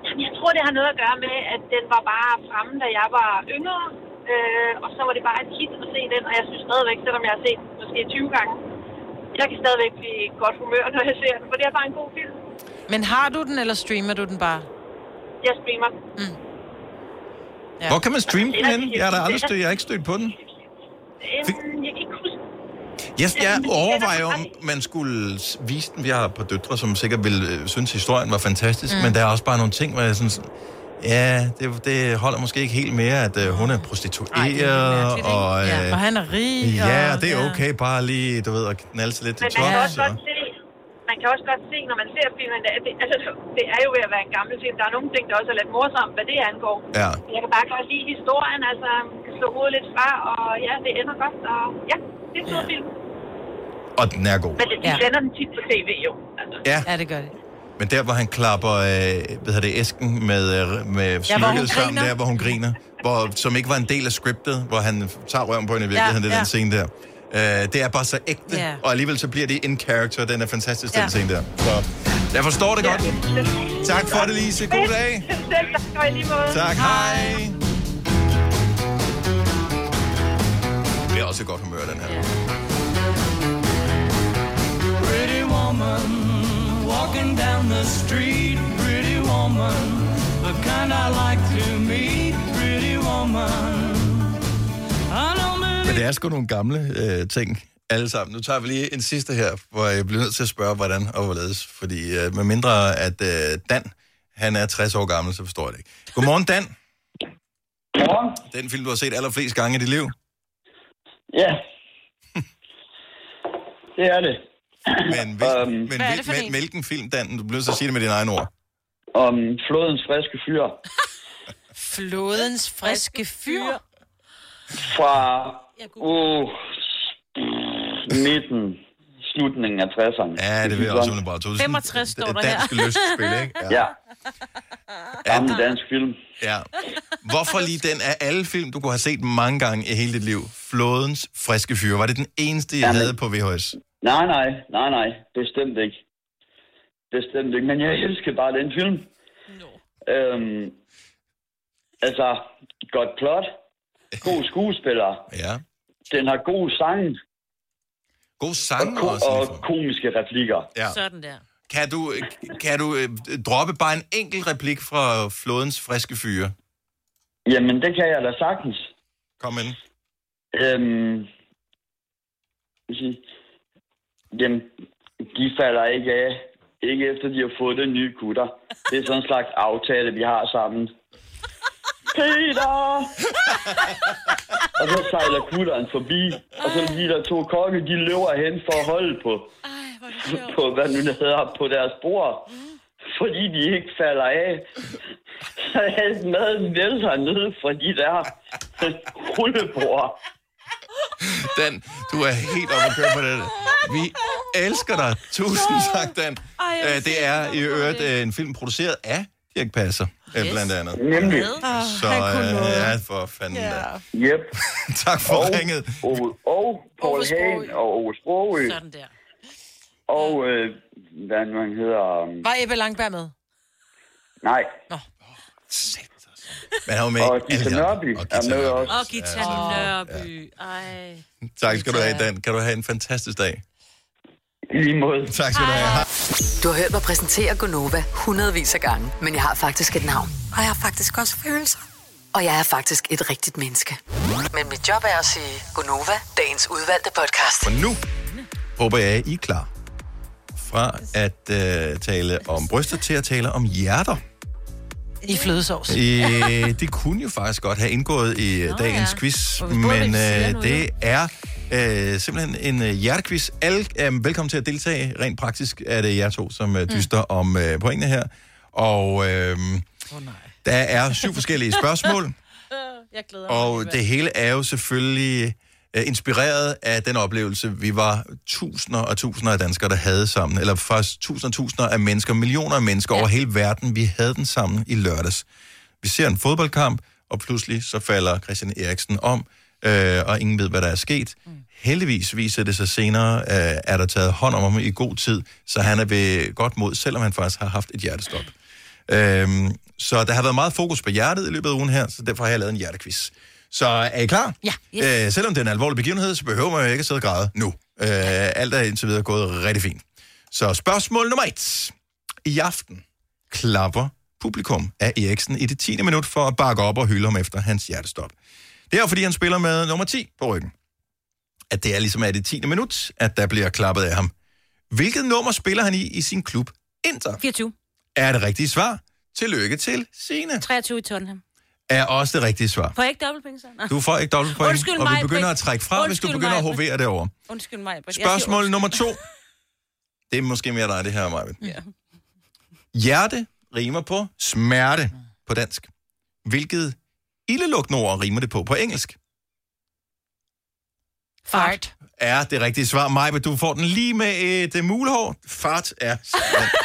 Jamen, jeg tror, det har noget at gøre med, at den var bare fremme, da jeg var yngre, øh, og så var det bare et hit at se den, og jeg synes stadigvæk, selvom jeg har set den måske 20 gange, jeg kan stadigvæk blive i godt humør, når jeg ser den, for det er bare en god film.
Men har du den, eller streamer du den bare?
Jeg streamer. Mm.
Ja. Hvor kan man streame den henne? Jeg, er der aldrig stød, jeg har ikke stødt på den.
Øhm, jeg kan ikke huske,
Jeg, jeg overvejer jo, om man skulle s- vise den. Vi har et par døtre, som sikkert ville øh, synes, historien var fantastisk,
Mm.
mm. men der er også bare nogle ting, hvor jeg synes, ja, det, det holder måske ikke helt mere, at øh, hun er prostitueret, Ej, og, øh,
Ja, og han er rig.
Ja,
og,
det er okay bare lige, du ved, at knalde sig lidt til
Men man kan,
tops.
også godt se, man kan også godt se, når man ser filmen, at det, altså, det er jo ved at være en gammel film. Der er nogle ting, der også er lidt morsomme, hvad det angår.
Ja.
Jeg kan bare godt lide historien, altså kan slå hovedet lidt fra, og ja, det ender godt, og ja, det er en fed film.
Og, og den er god.
Men det, de sender den tit på tv, jo. Altså.
Ja.
ja, det gør det.
Men der, hvor han klapper øh, hvad hedder det, æsken med, øh, med
Ja, hvor hun
smykket ja, sammen,
griner.
der hvor hun griner, hvor, som ikke var en del af scriptet, hvor han tager røven på hende i virkeligheden,
Ja,
ja, ja.
ja.
den scene der. Øh, det er bare så ægte,
Ja.
ja. og alligevel så bliver det en character, den er fantastisk, den
Ja.
scene der. Så jeg forstår det godt. Tak for det, Lise. God dag.
Selv tak, og i lige måde.
Tak, hej. Vi er også i godt humør, den her.
Pretty woman, walking down the street. Pretty woman, the kind I like to meet. Pretty woman, I don't believe
Men det er sgu nogle gamle øh, ting, alle sammen. Nu tager vi lige en sidste her, hvor jeg bliver nødt til at spørge, hvordan og hvorledes. Fordi øh, med mindre at øh, Dan, han er 60 år gammel, så forstår jeg det ikke. Godmorgen, Dan. Godmorgen. Den film, du har set allerflest gange i dit liv.
Ja. det er det.
Men, hvis,
Øhm,
um, men, hvad er det men hvilken film, Dan? Du bliver nødt til at sige det med dine egne ord.
Om flodens friske fyr
Flodens friske fyr.
fra uh, midten, slutningen af 60'erne.
Ja, det vil jeg også bare tro.
65 står der her.
dansk lystspil, ikke? Ja. ja. Gammel dansk film.
Ja. Hvorfor lige den af alle film, du kunne have set mange gange i hele dit liv? Flådens friske fyre. Var det den eneste, jeg
Jamen.
havde på VHS?
Nej, nej, nej, nej, bestemt ikke. Bestemt ikke, men jeg elsker bare den film. No. Øhm, altså, godt plot, god skuespiller.
Ja.
Den har god sang.
God sang
og, ko-
også,
og komiske replikker.
Ja.
Sådan der.
Kan du, kan du øh, droppe bare en enkelt replik fra flådens friske fyre?
Jamen, det kan jeg da sagtens.
Kom ind.
Øhm, skal vi sige, jamen, de falder ikke af. Ikke efter de har fået den nye kutter. Det er sådan en slags aftale, vi har sammen. Peter! Og så sejler kutteren forbi, og så de der to kokke, de løber hen for at holde på, på hvad nu det hedder, på deres bord. Fordi de ikke falder af. Så alt maden vælter ned fra de der rullebord.
Dan, du er helt oppe at køre på det. Vi elsker dig. Tusind tak, Dan.
Ej, hvor
Øh, Det er i øvrigt øh, en film produceret af Dirk Passer, yes.
Yes.
blandt andet.
Nemlig.
Ja. Så
Han kunne
øh,
noget.
ja, for fanden da.
Yep.
tak for
og,
ringet.
Og, og Paul Hagen og Ove Sprogø.
Sådan der.
Og, øh, hvad nu han hedder... Um,
Var Ebbe Langberg med?
nej.
Men han var med
og
i
Gita
alle de
Nørby
andre. Og
er
Gita
med
Nørby.
også.
Og Gita Nørby. Ej.
Tak skal du have, Dan. Kan du have en fantastisk dag.
I lige måde.
Tak skal du have. Hej.
Du har hørt mig præsentere Gonova hundredvis af gange, men jeg har faktisk et navn.
Og jeg har faktisk også følelser.
Og jeg er faktisk et rigtigt menneske. Men mit job er at sige Gonova, dagens udvalgte podcast.
Og nu håber jeg, I er klar fra at øh, tale om bryster til at tale om hjerter.
I flødesovs.
Øh, det kunne jo faktisk godt have indgået i øh, dagens
ja.
quiz,
Og vi burde
men
vel sige
øh,
noget,
det er øh, simpelthen en øh, hjertequiz. Alle er velkommen til at deltage. Rent praktisk er det jer to, som øh, dyster mm. om øh, pointene her. Og øh, oh, der er syv forskellige spørgsmål.
Jeg glæder mig.
Og det hele er jo selvfølgelig øh, inspireret af den oplevelse, vi var tusinder og tusinder af danskere, der havde sammen. Eller faktisk tusinder og tusinder af mennesker, millioner af mennesker ja. over hele verden. Vi havde den sammen i lørdags. Vi ser en fodboldkamp, og pludselig så falder Christian Eriksen om, øh, og ingen ved, hvad der er sket. Mm. Heldigvis viser det sig senere, øh, er der taget hånd om ham i god tid, så han er ved godt mod, selvom han faktisk har haft et hjertestop. Øhm, så der har været meget fokus på hjertet i løbet af ugen her, så derfor har jeg lavet en hjertequiz. Så er I klar?
Ja.
Yes. Øh, selvom det er en alvorlig begivenhed, så behøver man jo ikke at sidde og græde nu. Øh, alt er indtil videre gået rigtig fint. Så spørgsmål nummer et. I aften klapper publikum af Eriksen i det 10. minut for at bakke op og hylde ham efter hans hjertestop. Det er fordi, han spiller med nummer 10 på ryggen. at det er ligesom er det 10. minut, at der bliver klappet af ham. Hvilket nummer spiller han i i sin klub Inter?
24.
Er det rigtige svar? Tillykke til. Sine.
23 i Tottenham.
Er også det rigtige svar.
Får jeg ikke dobbeltpenge så? Nå.
Du får ikke dobbeltpoint,
Undskyld
og vi
mig,
begynder
Britt.
at trække fra, hvis du
Undskyld
begynder at
mig,
hovere derovre.
Undskyld mig. Britt. Jeg siger
Spørgsmål nummer to. Det er måske mere dig, det her, Marvin.
Ja.
Hjerte rimer på smerte på dansk. Hvilket ildelugtende ord rimer det på på engelsk?
Fart.
Er det rigtige svar, Maja, du får den lige med et uh, mulehår. Fart er simpelthen-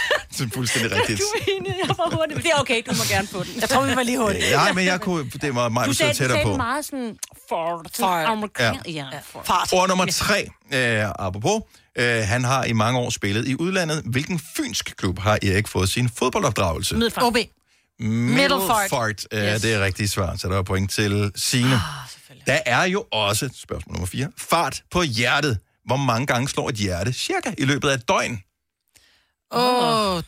det er fuldstændig rigtigt.
Du er enig, jeg var hurtig. Men Det er okay, du må gerne få den.
Jeg tror, vi var lige
Øh, Nej, men jeg kunne, det var mig,
du
vi
sagde,
stod
du
tættere
sagde
på.
meget sådan... Fart.
Fart.
Amerikan- Ja. fart.
Ord nummer tre, øh, apropos, øh, han har i mange år spillet i udlandet. Hvilken fynsk klub har Erik fået sin fodboldopdragelse?
Middelfart. OB. Middelfart.
Middelfart er yes. det rigtige svar, så der er point til Signe. Ah, der er jo også, spørgsmål nummer 4, fart på hjertet. Hvor mange gange slår et hjerte cirka i løbet af et døgn?
Åh, oh,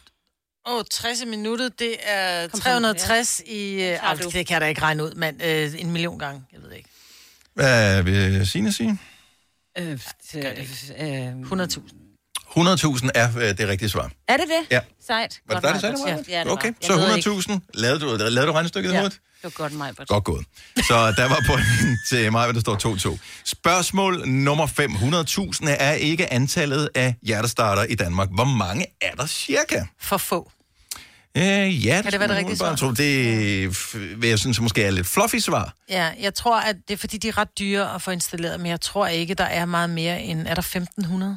oh, 60 minutter, det er 360 i... Øh, ej, det kan jeg da ikke regne ud, men øh, en million gange. Jeg ved det ikke.
Hvad vil Signe sige?
Øh, øh, 100.000.
100.000 er øh, det rigtige svar.
Er det det?
Ja.
Sejt.
Var det
Godt,
dig, der sagde
Maj-Brit.
det?
Ja, det
Maja?
var.
Okay,
Jeg
så
ved ikke.
100.000. Lavede du, lavede du regnestykket i
Ja.
hovedet?
Det var godt, mig.
Godt gået. Så der var point til mig, der står 2-2. Spørgsmål number 5. 100.000 er ikke antallet af hjertestarter i Danmark. Hvor mange er der cirka?
For få.
Øh, ja,
Kan det være det rigtige
svar? Tro, det f- vil jeg synes måske er lidt fluffy svar.
Ja, jeg tror, at det er fordi, de er ret dyre at få installeret, men jeg tror ikke, der er meget mere end... Er der 1500?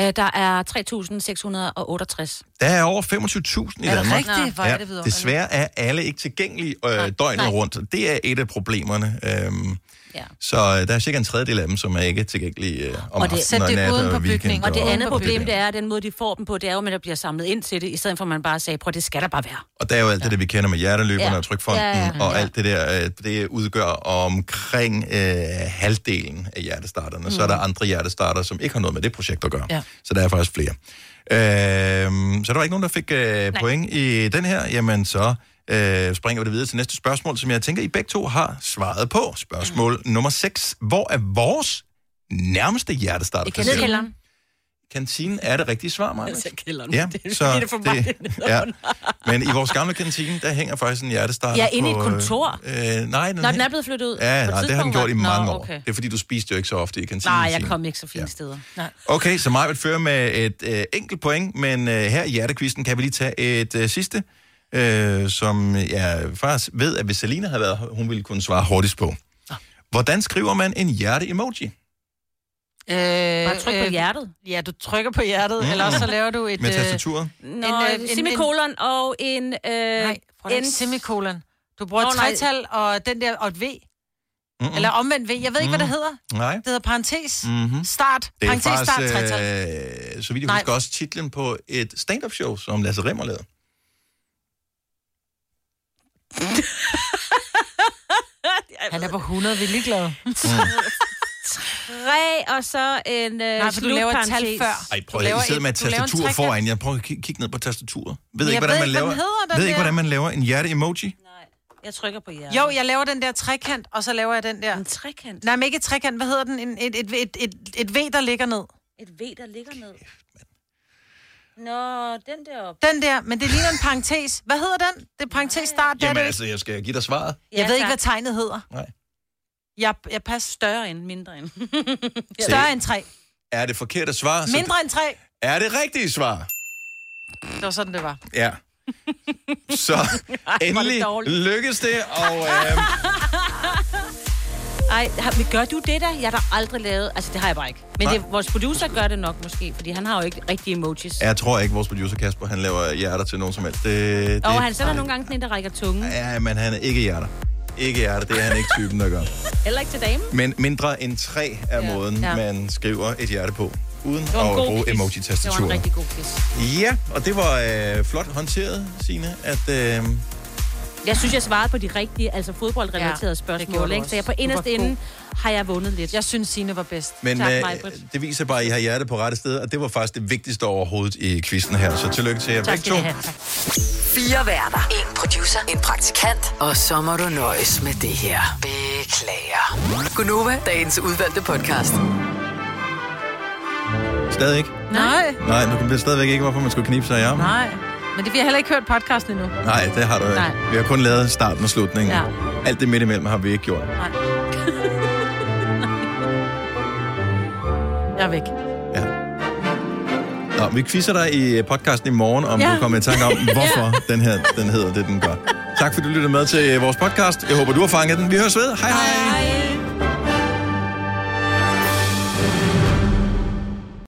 Øh, Der er 3.668.
Der er over 25.000 i
Er det
Danmark.
rigtigt? Hvor er det vidunderligt.
desværre er alle ikke tilgængelige øh, døgnet
nej.
rundt. Det er et af problemerne. Øhm,
Ja.
Så øh, der er cirka en tredjedel af dem, som er ikke tilgængelige øh, om
Og det,
aftenen og natten og weekenden.
Og det andet problem, det er, at den måde, de får dem på, det er jo, at der bliver samlet ind til det, i stedet for at man bare sagde, prøv, det skal der bare være.
Og der er jo alt det, der vi kender med hjerteløberne
Ja.
og trykfonden
Ja, ja, ja.
og alt det der, øh, det udgør omkring øh, halvdelen af hjertestarterne. Mm. Så er der andre hjertestarter, som ikke har noget med det projekt at gøre.
Ja.
Så der er faktisk flere. Øhm, så der var ikke nogen, der fik øh, point i den her. Jamen så øh, springer vi det videre til næste spørgsmål, som jeg tænker, I begge to har svaret på. Spørgsmål mm. nummer 6. Hvor er vores nærmeste hjertestarter? placeret? Kantinen er det rigtige svar, Maja.
Altså, kælderen.
Ja,
Det er-
så
det er det for mig, det er
ja. Men i vores gamle kantine, der hænger faktisk en hjertestarter
Ja, inde i et
på,
kontor.
Øh, øh, nej,
Nå, den er blevet flyttet ud.
Ja,
På
nej, det har den
tidspunkt var
gjort i
den- Nå,
mange år.
okay.
Det er fordi, du spiste jo ikke så ofte i kantinen.
Nej, jeg
Signe.
kom ikke så fine steder. Nej.
Okay, så mig vil føre med et øh, enkelt point, men øh, her i hjertekvisten kan vi lige tage et øh, sidste, øh, som jeg faktisk ved, at hvis Selina havde været her, hun ville kunne svare hurtigst på. Hvordan skriver man en hjerte-emoji?
Øh,
Bare tryk på hjertet.
Ja, du trykker på hjertet,
Mm.
mm. eller også så laver du et...
Med
øh,
tastaturet?
Nå, en, en, semikolon og en... Øh, Nej,
prøv en semikolon. Du bruger
Nå,
et
nej.
tretal og, den der, og et V.
Mm-mm.
Eller omvendt V. Jeg ved ikke, hvad det
Mhm.
hedder.
Nej.
Det hedder parentes.
Mhm.
Start.
Det er
parentes, start,
faktisk,
tretal.
øh, så vidt jeg
Nej.
husker, også titlen på et stand-up show, som Lasse Remmer lavede. øh,
Han er på 100, vi er
Øh,
ligeglade.
Tre, og så en øh,
Nej, for du laver et tal
slutparentes.
før.
Ej,
Du
prøv at høre,
laver
I sidder
et-
med et
du laver en
tastatur
trekant.
foran. Jeg prøver at kigge, kigge ned på tastaturet. Ved
Jeg
ikke, hvordan
ved
man
ikke, hvad
laver,
den hedder, den
ved ikke,
der.
hvordan man laver en hjerte-emoji.
Jeg trykker på hjertet.
Jo, jeg laver den der trekant, og så laver jeg den der. En
trekant?
Nej, men ikke et trekant. Hvad hedder den? En, et, et, et, et, et V, der ligger ned.
Et V, der ligger ned. Nå, den der op.
Den der, men det ligner en parentes. Hvad hedder den? Det er parentes start. Der er
Jamen
det jo
altså, jeg skal give dig svaret.
ikke. Jeg ved ikke, hvad tegnet hedder.
Nej.
Jeg, jeg passer
større end, mindre end.
større end tre.
Er det forkerte svar? så-
Mindre end tre.
Er det rigtige svar?
Det var sådan, det var.
Ja. Så
var det
endelig
dårligt.
lykkedes det, og øh,
Ej, har, men gør du det der? Jeg har da aldrig lavet... Altså, det har jeg bare ikke. Men det, vores producer gør det nok måske, fordi han har jo ikke rigtige emojis.
jeg tror ikke, vores producer Kasper, han laver hjerter til nogen som helst. Det, det,
Og han sender nogle gange den ind, der rækker tungen.
Ja, men han er ikke hjerter. Ikke hjerter, det er han ikke typen, der gør.
Heller ikke til damen.
Men mindre end tre er
Ja.
ja. måden,
Ja.
ja. man skriver et hjerte på, uden at
Det var en god
bruge
quiz. Det var en
emoji-tastaturet.
rigtig god quiz.
Ja, og det var øh, flot håndteret, Signe, at... Øh,
Jeg synes, jeg svarede på de rigtige, altså fodboldrelaterede ja, spørgsmål,
gjorde du
ikke? Så jeg på
også. Du var
inderst
god.
inde har jeg vundet lidt.
Jeg synes, Signe var bedst.
men øh, det viser bare, at I har hjertet på rette sted, og det var faktisk det vigtigste overhovedet i quizzen her. Så tillykke til jer begge to.
Fire værter. En producer. En praktikant. Og så må du nøjes med det her. Beklager. Gunova, dagens udvalgte podcast.
Stadig ikke?
Nej.
Nej, du ved stadigvæk ikke, hvorfor man skulle knibe sig i armen.
Nej. Men det, vi har heller ikke hørt podcasten endnu.
Nej, det har du ikke.
Nej.
Vi har kun lavet starten og slutningen.
Ja.
Alt det midt imellem har vi ikke gjort.
Nej. Jeg er væk.
Nå, vi quizzer dig i podcasten i morgen, om
Ja.
ja. du kommer i tanke om, hvorfor ja. den her øh, den hedder det, den gør. Tak fordi du lyttede med til vores podcast. Jeg håber, du har fanget den. Vi høres ved. Hej hej. hej.